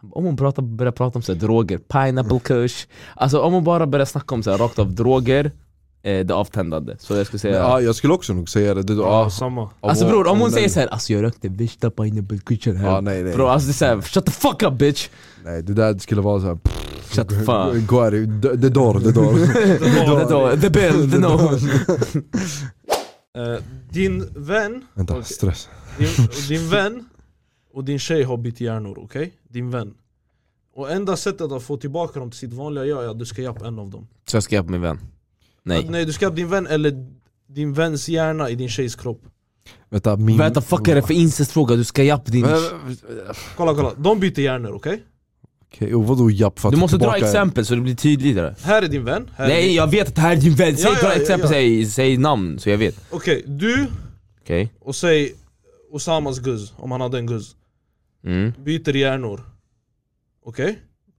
Speaker 4: Han bara, om hon pratar, börjar prata om så här, droger, pineapple kush, alltså om hon bara börjar snacka om så här, rakt av droger, eh, det avtändande. Så jag skulle säga,
Speaker 1: Men, ah, jag skulle också nog säga det. det då,
Speaker 2: Ja,
Speaker 1: ah,
Speaker 4: (laughs)
Speaker 2: samma.
Speaker 4: alltså bror om hon
Speaker 1: nej.
Speaker 4: säger så här, alltså jag rökte värsta pineapple kushen här.
Speaker 1: ah, nej, nej.
Speaker 4: Bro alltså det är såhär, shut the fuck up bitch!
Speaker 1: nej, det där skulle vara såhär,
Speaker 4: Shut the fuck
Speaker 1: gå här, det det dör, det dör.
Speaker 4: The door, The bill, the no!
Speaker 2: Eh, Din vän,
Speaker 1: Vänta,
Speaker 2: Okej.
Speaker 1: stress.
Speaker 2: din, din vän och din tjej har bytt hjärnor, okej? Din vän. Och enda sättet att få tillbaka dem till sitt vanliga jag är att du ska jappa en av dem.
Speaker 4: Så jag ska hjälpa min vän? Nej.
Speaker 2: Nej du ska jappa din vän eller din väns hjärna i din tjejs kropp.
Speaker 1: Vänta, min...
Speaker 4: Vänta fuck är det för incestfråga? Du ska japp din...
Speaker 2: Kolla kolla, de byter hjärnor, okej?
Speaker 1: Okej, och vadå japp för att
Speaker 4: Du
Speaker 1: ta
Speaker 4: måste dra
Speaker 1: tillbaka-
Speaker 4: exempel så det blir tydligare
Speaker 2: Här är din vän, här är
Speaker 4: Nej
Speaker 2: din...
Speaker 4: jag vet att det här är din vän, säg
Speaker 2: Ja, ja,
Speaker 4: dra
Speaker 2: ja, ja.
Speaker 4: exempel, Säg, säg namn så jag vet
Speaker 2: Okej, du
Speaker 4: Okej?
Speaker 2: och säg Osamas guzz, om han hade en guzz.
Speaker 4: Mm.
Speaker 2: Byter hjärnor. Okej?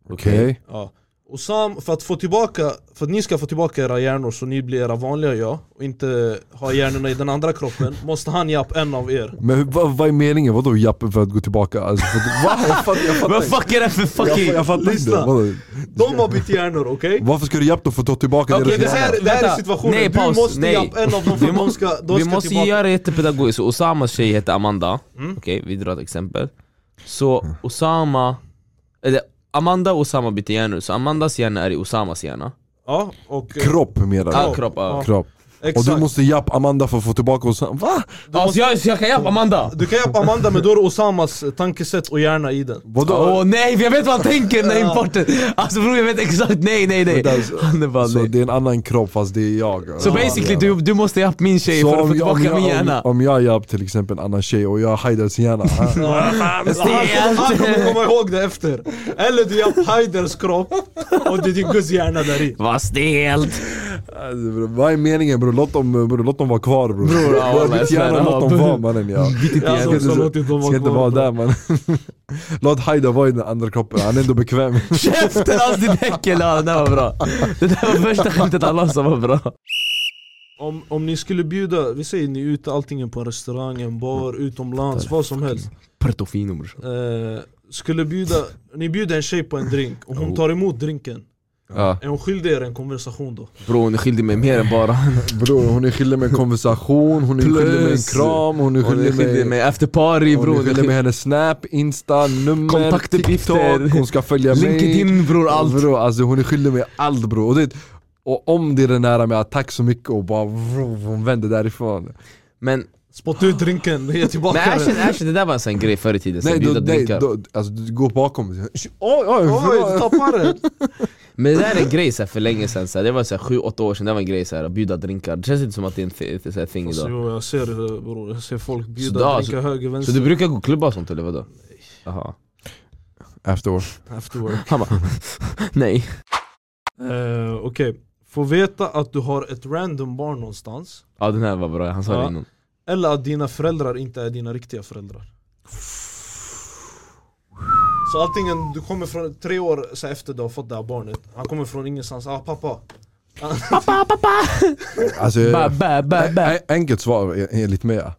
Speaker 1: Okej,
Speaker 2: Ja. Och Sam, för att, få tillbaka, för att ni ska få tillbaka era hjärnor så ni blir era vanliga jag och inte ha hjärnorna i den andra kroppen (laughs) måste han japp en av er.
Speaker 1: men hur- vad, vad är meningen? Vadå japp för att gå tillbaka? Alltså, för att, (laughs) va? Jag fattar, jag fattar
Speaker 4: Vad
Speaker 1: inte.
Speaker 4: fuck är det för
Speaker 1: Jag,
Speaker 4: fucking...
Speaker 1: fa- jag fattar inte.
Speaker 2: Lyssna.
Speaker 1: Vadå?
Speaker 2: De har bytt hjärnor, okej?
Speaker 1: Varför ska du japp då för att ta tillbaka
Speaker 4: Okej,
Speaker 1: deras
Speaker 2: Det här, det här är
Speaker 4: Vänta.
Speaker 2: situationen,
Speaker 4: Nej,
Speaker 2: du
Speaker 4: paus.
Speaker 2: måste
Speaker 4: Nej.
Speaker 2: japp en av dem för
Speaker 4: Vi
Speaker 2: att de
Speaker 4: må-
Speaker 2: ska, de
Speaker 4: Vi
Speaker 2: ska
Speaker 4: måste
Speaker 2: tillbaka.
Speaker 4: göra det jättepedagogiskt, Osamas tjej heter Amanda
Speaker 2: Mm.
Speaker 4: Okej, vi drar ett exempel Så Osama... Eller Amanda och Osama byter hjärnor, så Amandas hjärna är i Osamas hjärna
Speaker 2: Ja, och...
Speaker 1: Kropp menar
Speaker 4: Ah,
Speaker 1: du?
Speaker 4: kropp, ah.
Speaker 2: Ja.
Speaker 1: Kropp. Och
Speaker 2: Exakt.
Speaker 1: du måste japp Amanda för att få tillbaka oss. Va?
Speaker 2: Du
Speaker 4: Ja, så
Speaker 2: måste-
Speaker 4: jag, så jag kan jappa Amanda!
Speaker 2: Du kan jappa Amanda men då är det Osamas eh, tankesätt och hjärna i den.
Speaker 1: Vadå?
Speaker 4: Åh nej, jag vet vad han tänker, nej
Speaker 2: Ja.
Speaker 4: importen! Alltså bror jag vet exakt, nej nej nej!
Speaker 1: Men alltså,
Speaker 4: Han är bara
Speaker 1: Så
Speaker 4: nej
Speaker 1: det är en annan kropp fast det är jag.
Speaker 4: Så
Speaker 1: Ja.
Speaker 4: basically
Speaker 1: Ja.
Speaker 4: du, du måste japp min tjej
Speaker 1: Så
Speaker 4: för att få
Speaker 1: om jag- om
Speaker 4: tillbaka
Speaker 1: jag-
Speaker 4: min
Speaker 1: om-
Speaker 4: hjärna
Speaker 1: Om jag japp till exempel en annan tjej och jag hajdar sin
Speaker 4: (laughs)
Speaker 1: hjärna. ah,
Speaker 2: Han han kommer komma ihåg det efter. Eller du japp Haiders kropp och det är din guzz hjärna där i.
Speaker 4: Vad stelt!
Speaker 1: alltså, bro, vad är meningen bror? Låt dem, bror, låt dem vara kvar bror.
Speaker 4: Bror, ja,
Speaker 1: Bara
Speaker 4: men
Speaker 1: byt hjärna,
Speaker 4: snälla,
Speaker 1: låt dem vara
Speaker 4: bror.
Speaker 1: mannen. Ja. Alltså,
Speaker 2: Jag
Speaker 1: Ska
Speaker 2: hade
Speaker 1: inte,
Speaker 2: också låtit dem
Speaker 1: ska
Speaker 2: vara
Speaker 1: inte
Speaker 2: kvar.
Speaker 1: vara
Speaker 2: bro.
Speaker 1: där mannen. (laughs) Låt Haida vara i den andra kroppen, han är ändå bekväm.
Speaker 4: Käften alltså din äckel! Ja, det där var bra. Det där var första skämtet alla som var bra.
Speaker 2: Om, om ni skulle bjuda, vi säger ni är ute antingen på en restaurang, en bar,
Speaker 4: Mm.
Speaker 2: utomlands, vad som helst
Speaker 4: Portofino brorsan.
Speaker 2: eh, Skulle bjuda, ni bjuder en tjej på en drink och hon tar emot drinken
Speaker 4: Ja.
Speaker 2: Är hon skyldig er en konversation då?
Speaker 4: Bro hon är skyldig mig mer än (laughs) bara
Speaker 1: Bror hon är skyldig mig en konversation, hon är skyldig mig en
Speaker 4: Plus.
Speaker 1: kram, hon är
Speaker 4: Hon är
Speaker 1: skyldig
Speaker 4: skyldig
Speaker 1: mig...
Speaker 4: mig efter party
Speaker 1: Hon är
Speaker 4: bror
Speaker 1: skyldig mig hennes snap, insta, nummer,
Speaker 4: Kontaktuppgifter.
Speaker 1: tiktok, hon ska följa mig.
Speaker 4: LinkedIn bror allt
Speaker 1: Bro, alltså hon är skyldig mig allt bro. Och, det, och om det är den där med att tack så mycket och bara vroom, hon vänder därifrån.
Speaker 4: Men,
Speaker 2: Spotta ut drinken, ge tillbaka
Speaker 4: men
Speaker 2: den!
Speaker 4: Ashen, Ashen, det där var en sån grej förr i tiden, så
Speaker 1: Nej, då,
Speaker 4: bjuda
Speaker 1: nej
Speaker 4: drinkar
Speaker 1: då, alltså, du går bakom. Oj, oj,
Speaker 2: Oj, du
Speaker 1: oj.
Speaker 2: tappar
Speaker 4: (laughs)
Speaker 2: den!
Speaker 4: Men det där är en grej så här, för länge sedan, så här, det var så här, 7-8 år sedan, det var en grej så här, att bjuda drinkar Det känns inte som att det är en th- så här, thing
Speaker 2: Alltså,
Speaker 4: idag
Speaker 2: jo, jag ser det bror, jag ser folk
Speaker 4: Så då,
Speaker 2: bjuda
Speaker 4: alltså-
Speaker 2: drinka höger,
Speaker 4: Så
Speaker 2: vänster
Speaker 4: du brukar gå och klubba och sånt eller vadå? Jaha
Speaker 1: Efteråt.
Speaker 2: after work
Speaker 4: Han (laughs) bara nej
Speaker 2: Eh, Okej, få veta att du har ett random barn någonstans
Speaker 4: Ja den här var bra, han sa
Speaker 2: Ja.
Speaker 4: det innan
Speaker 2: Eller att dina föräldrar inte är dina riktiga föräldrar Så antingen du kommer från tre år så här efter du har fått det här barnet Han kommer från ingenstans, ah pappa
Speaker 1: Alltså,
Speaker 4: Ba, ba, ba, ba.
Speaker 1: en- enkelt svar en- enligt mig. ja.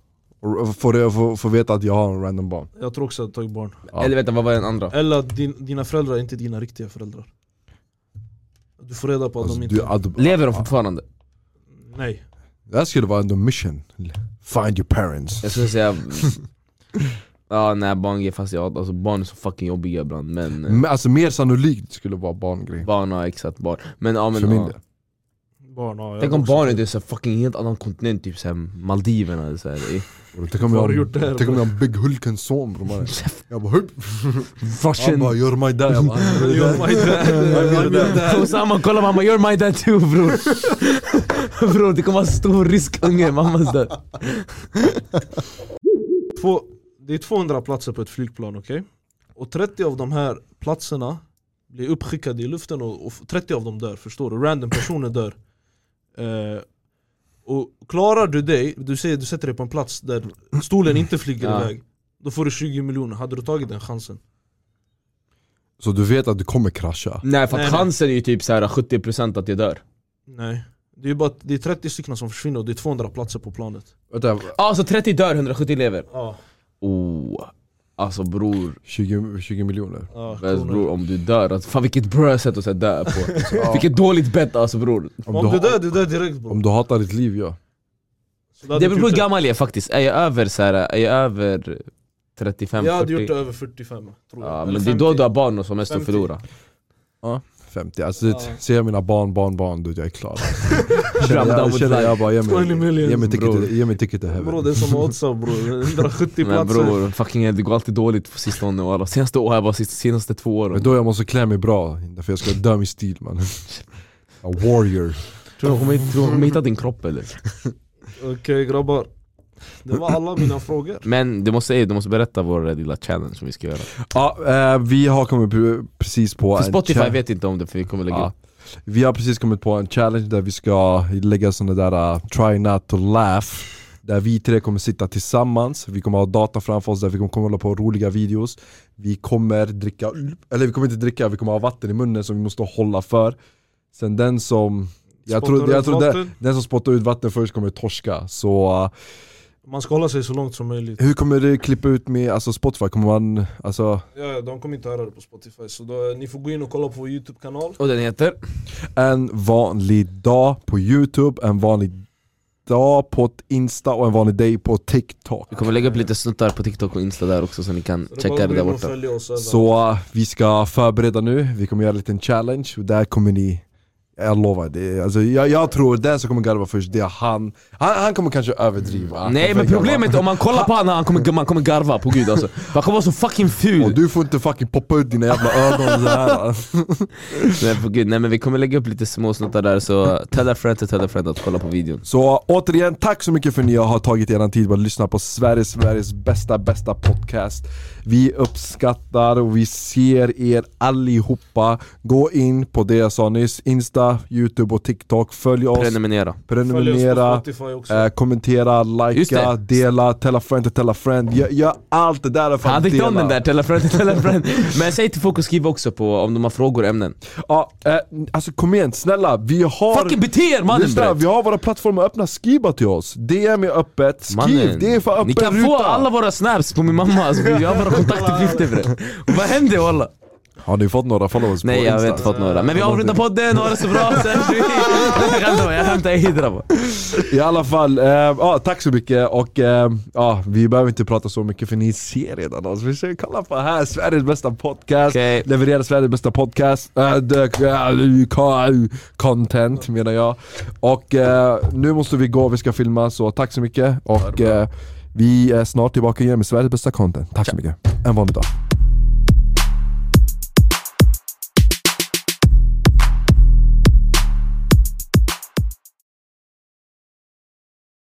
Speaker 1: Får jag få, få veta att jag har en random barn.
Speaker 2: Jag tror också jag hade tagit barn
Speaker 1: Ja.
Speaker 4: Eller vänta, vad var den andra?
Speaker 2: Eller att din, dina föräldrar inte är dina riktiga föräldrar Du får reda på att
Speaker 1: Alltså,
Speaker 2: de
Speaker 1: du,
Speaker 2: inte...
Speaker 1: ad-
Speaker 4: Lever de fortfarande?
Speaker 2: Nej
Speaker 1: det här skulle vara ändå mission. Find your parents.
Speaker 4: Jag
Speaker 1: (laughs)
Speaker 4: skulle säga... ja nej barn ger fast jag alltså barn är så fucking jobbiga ibland men... eh,
Speaker 1: Men, alltså mer sannolikt skulle vara barngrej.
Speaker 4: Barn har exakt barn, men ja
Speaker 1: För
Speaker 4: men...
Speaker 1: min
Speaker 4: Ja.
Speaker 1: del.
Speaker 2: Barn, ja, jag
Speaker 4: Tänk om
Speaker 2: också.
Speaker 4: barnet är typ så fucking helt annan kontinent, typ såhär Maldiverna eller såhär (laughs)
Speaker 1: Och Tänk om
Speaker 2: Vad har du
Speaker 1: jag
Speaker 2: gjort där,
Speaker 1: tänk om
Speaker 2: bro?
Speaker 1: jag har Big Hulkens son bror. mannen. Jag bara hup. Han bara you're my dad. Jag bara,
Speaker 2: You're my dad.
Speaker 4: (laughs)
Speaker 1: I'm your dad.
Speaker 4: Osama kollar mamma, you're my dad too bror Bror (laughs) det kommer vara stor rysk unge, mammas död
Speaker 2: Två, det är 200 platser på ett flygplan, okej? Och 30 av de här platserna blir uppskickade i luften och, och 30 av dem dör, förstår du? Random personer dör. Eh, och klarar du dig, du, säger, du sätter dig på en plats där stolen inte flyger
Speaker 4: Ja.
Speaker 2: iväg Då får du 20 miljoner, hade du tagit den chansen?
Speaker 1: Så du vet att du kommer krascha?
Speaker 4: Nej för
Speaker 2: Nej,
Speaker 4: att
Speaker 2: nej.
Speaker 4: chansen är ju typ såhär 70% att jag dör
Speaker 2: Nej Det är ju bara att det är 30 stycken som försvinner och det är 200 platser på planet
Speaker 1: Vänta,
Speaker 4: Ja så 30 dör, 170 lever
Speaker 2: Ja,
Speaker 4: Oh, alltså bror,
Speaker 1: 20, 20 miljoner?
Speaker 2: ja
Speaker 4: alltså,
Speaker 2: kronor.
Speaker 4: bror om du dör, alltså, fan vilket bra sätt att så här dö (laughs) på Vilket dåligt bett alltså bror
Speaker 2: Om du
Speaker 1: ha-
Speaker 2: dör, du dör direkt bror
Speaker 1: om du hatar ditt liv ja.
Speaker 2: typ Så du hade
Speaker 4: Det beror på
Speaker 2: gjort
Speaker 4: hur gammal jag är faktiskt, är jag över så här, är jag över 35,
Speaker 2: Jag hade
Speaker 4: 40?
Speaker 2: gjort det över 45 tror jag
Speaker 4: ja,
Speaker 2: Eller
Speaker 4: men det är då
Speaker 2: 50.
Speaker 4: du har barn och som mest att
Speaker 2: 50.
Speaker 4: förlora
Speaker 1: 50, alltså det,
Speaker 2: Ja.
Speaker 1: ser jag mina barn, barn, barn, du jag är klar. (laughs)
Speaker 4: Fram,
Speaker 1: Känner
Speaker 4: down
Speaker 1: jag,
Speaker 4: with
Speaker 1: känner jag
Speaker 4: life.
Speaker 1: bara, ge mig,
Speaker 2: 20 million,
Speaker 1: ge mig ticket
Speaker 4: bror.
Speaker 1: till, ge mig ticket till
Speaker 2: Bror
Speaker 1: heaven.
Speaker 2: det är som Oddsa
Speaker 4: (laughs)
Speaker 2: bror, 170
Speaker 4: Men
Speaker 2: platser
Speaker 4: bror, fucking hell, det går alltid dåligt på sistone och alla senaste år, jag bara sist- senaste två
Speaker 1: Men
Speaker 4: åren
Speaker 1: då jag måste klä mig bra, för jag ska dö min stil (laughs) man. A warrior.
Speaker 4: Tror du hon kommer- tror du hon kommer hitta din kropp eller?
Speaker 2: Okej grabbar, det var alla mina frågor
Speaker 4: Men du måste, du måste berätta vår eh, lilla challenge som vi ska göra
Speaker 1: Ja, eh, vi har kommit pre- precis på
Speaker 4: För Spotify
Speaker 1: challenge.
Speaker 4: vet inte om det för vi kommer lägga
Speaker 1: Ja.
Speaker 4: upp
Speaker 1: Vi har precis kommit på en challenge där vi ska lägga såna där eh, try not to laugh Där vi tre kommer sitta tillsammans, vi kommer ha data framför oss där vi kommer kolla på roliga videos Vi kommer dricka, eller vi kommer inte dricka, vi kommer ha vatten i munnen som vi måste hålla för Sen den som, jag
Speaker 2: Spottar
Speaker 1: tror, jag
Speaker 2: ut
Speaker 1: tror den,
Speaker 2: vatten.
Speaker 1: den som spottar ut vatten först kommer torska Så eh,
Speaker 2: Man ska hålla sig så långt som möjligt
Speaker 1: hur kommer du klippa ut med, alltså Spotify, kommer man, alltså
Speaker 2: ja, ja, De kommer inte höra det på Spotify så då, eh, ni får gå in och kolla på vår youtube-kanal
Speaker 4: Och den heter?
Speaker 1: en vanlig dag på youtube, en vanlig dag på insta och en vanlig day på tiktok
Speaker 4: Vi kommer lägga upp lite snuttar på TikTok och Insta där också så ni kan
Speaker 2: Så det är bara
Speaker 4: checka
Speaker 2: att gå
Speaker 4: det där
Speaker 2: in och
Speaker 4: borta
Speaker 2: följa oss överallt.
Speaker 1: Så uh, vi ska förbereda nu, vi kommer göra en liten challenge, och där kommer ni jag lovar, det, är- alltså, jag, jag tror den som kommer garva först, det är han Han, han kommer kanske överdriva
Speaker 4: Nej
Speaker 1: Han kommer
Speaker 4: men problemet är
Speaker 1: garva.
Speaker 4: om man kollar på honom, han kommer, man kommer garva på gud alltså Man kommer vara så fucking
Speaker 1: Och
Speaker 4: ful!
Speaker 1: du får inte fucking poppa ut dina jävla ögon såhär
Speaker 4: Nej, på gud, nej men vi kommer lägga upp lite små snuttar där så tell a friend to tell a friend att kolla på videon
Speaker 1: Så uh, återigen, tack så mycket för att ni har tagit er tid att lyssna på Sveriges, Sveriges bästa, bästa podcast Vi uppskattar och vi ser er allihopa Gå in på det jag sa nyss, Insta, Youtube och TikTok Följ oss,
Speaker 4: Prenumerera
Speaker 2: Följ oss
Speaker 1: prenumerera
Speaker 2: på Spotify också
Speaker 1: Eh, kommentera,
Speaker 4: Just
Speaker 1: likea,
Speaker 4: det.
Speaker 1: dela, tell a friend to tell a friend. Gör, gör allt det där för
Speaker 4: Han
Speaker 1: att
Speaker 4: hade inte om den
Speaker 1: dela.
Speaker 4: där, tell a friend to tell a (laughs) friend Men säg till folk att skriva också på om de har frågor och ämnen
Speaker 1: Ja, eh, alltså kom igen, snälla. Vi har...
Speaker 4: Fucking bete er mannen
Speaker 1: Lyssna,
Speaker 4: bre!
Speaker 1: vi har våra plattformar öppna, skriva till oss. DM är öppet, skriv,
Speaker 4: Mannen,
Speaker 1: det är för öppen
Speaker 4: Ni kan
Speaker 1: ruta. (laughs)
Speaker 4: få alla våra snaps på min mamma, alltså, vi har våra kontaktuppgifter bre Vad händer walla?
Speaker 1: Har ni fått några followers
Speaker 4: Nej
Speaker 1: på
Speaker 4: jag har
Speaker 1: Insta?
Speaker 4: inte fått några. Men vi avrundar podden, ha det så bra! Sen (laughs) jag skämtar bara, jag skämtar. Hej grabbar.
Speaker 1: I alla fall, eh, ja, tack så mycket och eh, ja, vi behöver inte prata så mycket för ni ser redan oss. Vi ska kolla på här, Sveriges bästa podcast.
Speaker 4: Okej.
Speaker 1: Levererar Sveriges bästa podcast. Äh, det- äh, Content menar jag. Och eh, nu måste vi gå, vi ska filma så tack så mycket. Och eh, vi är snart tillbaka igen med Sveriges bästa content. Tack så mycket. En vanlig dag.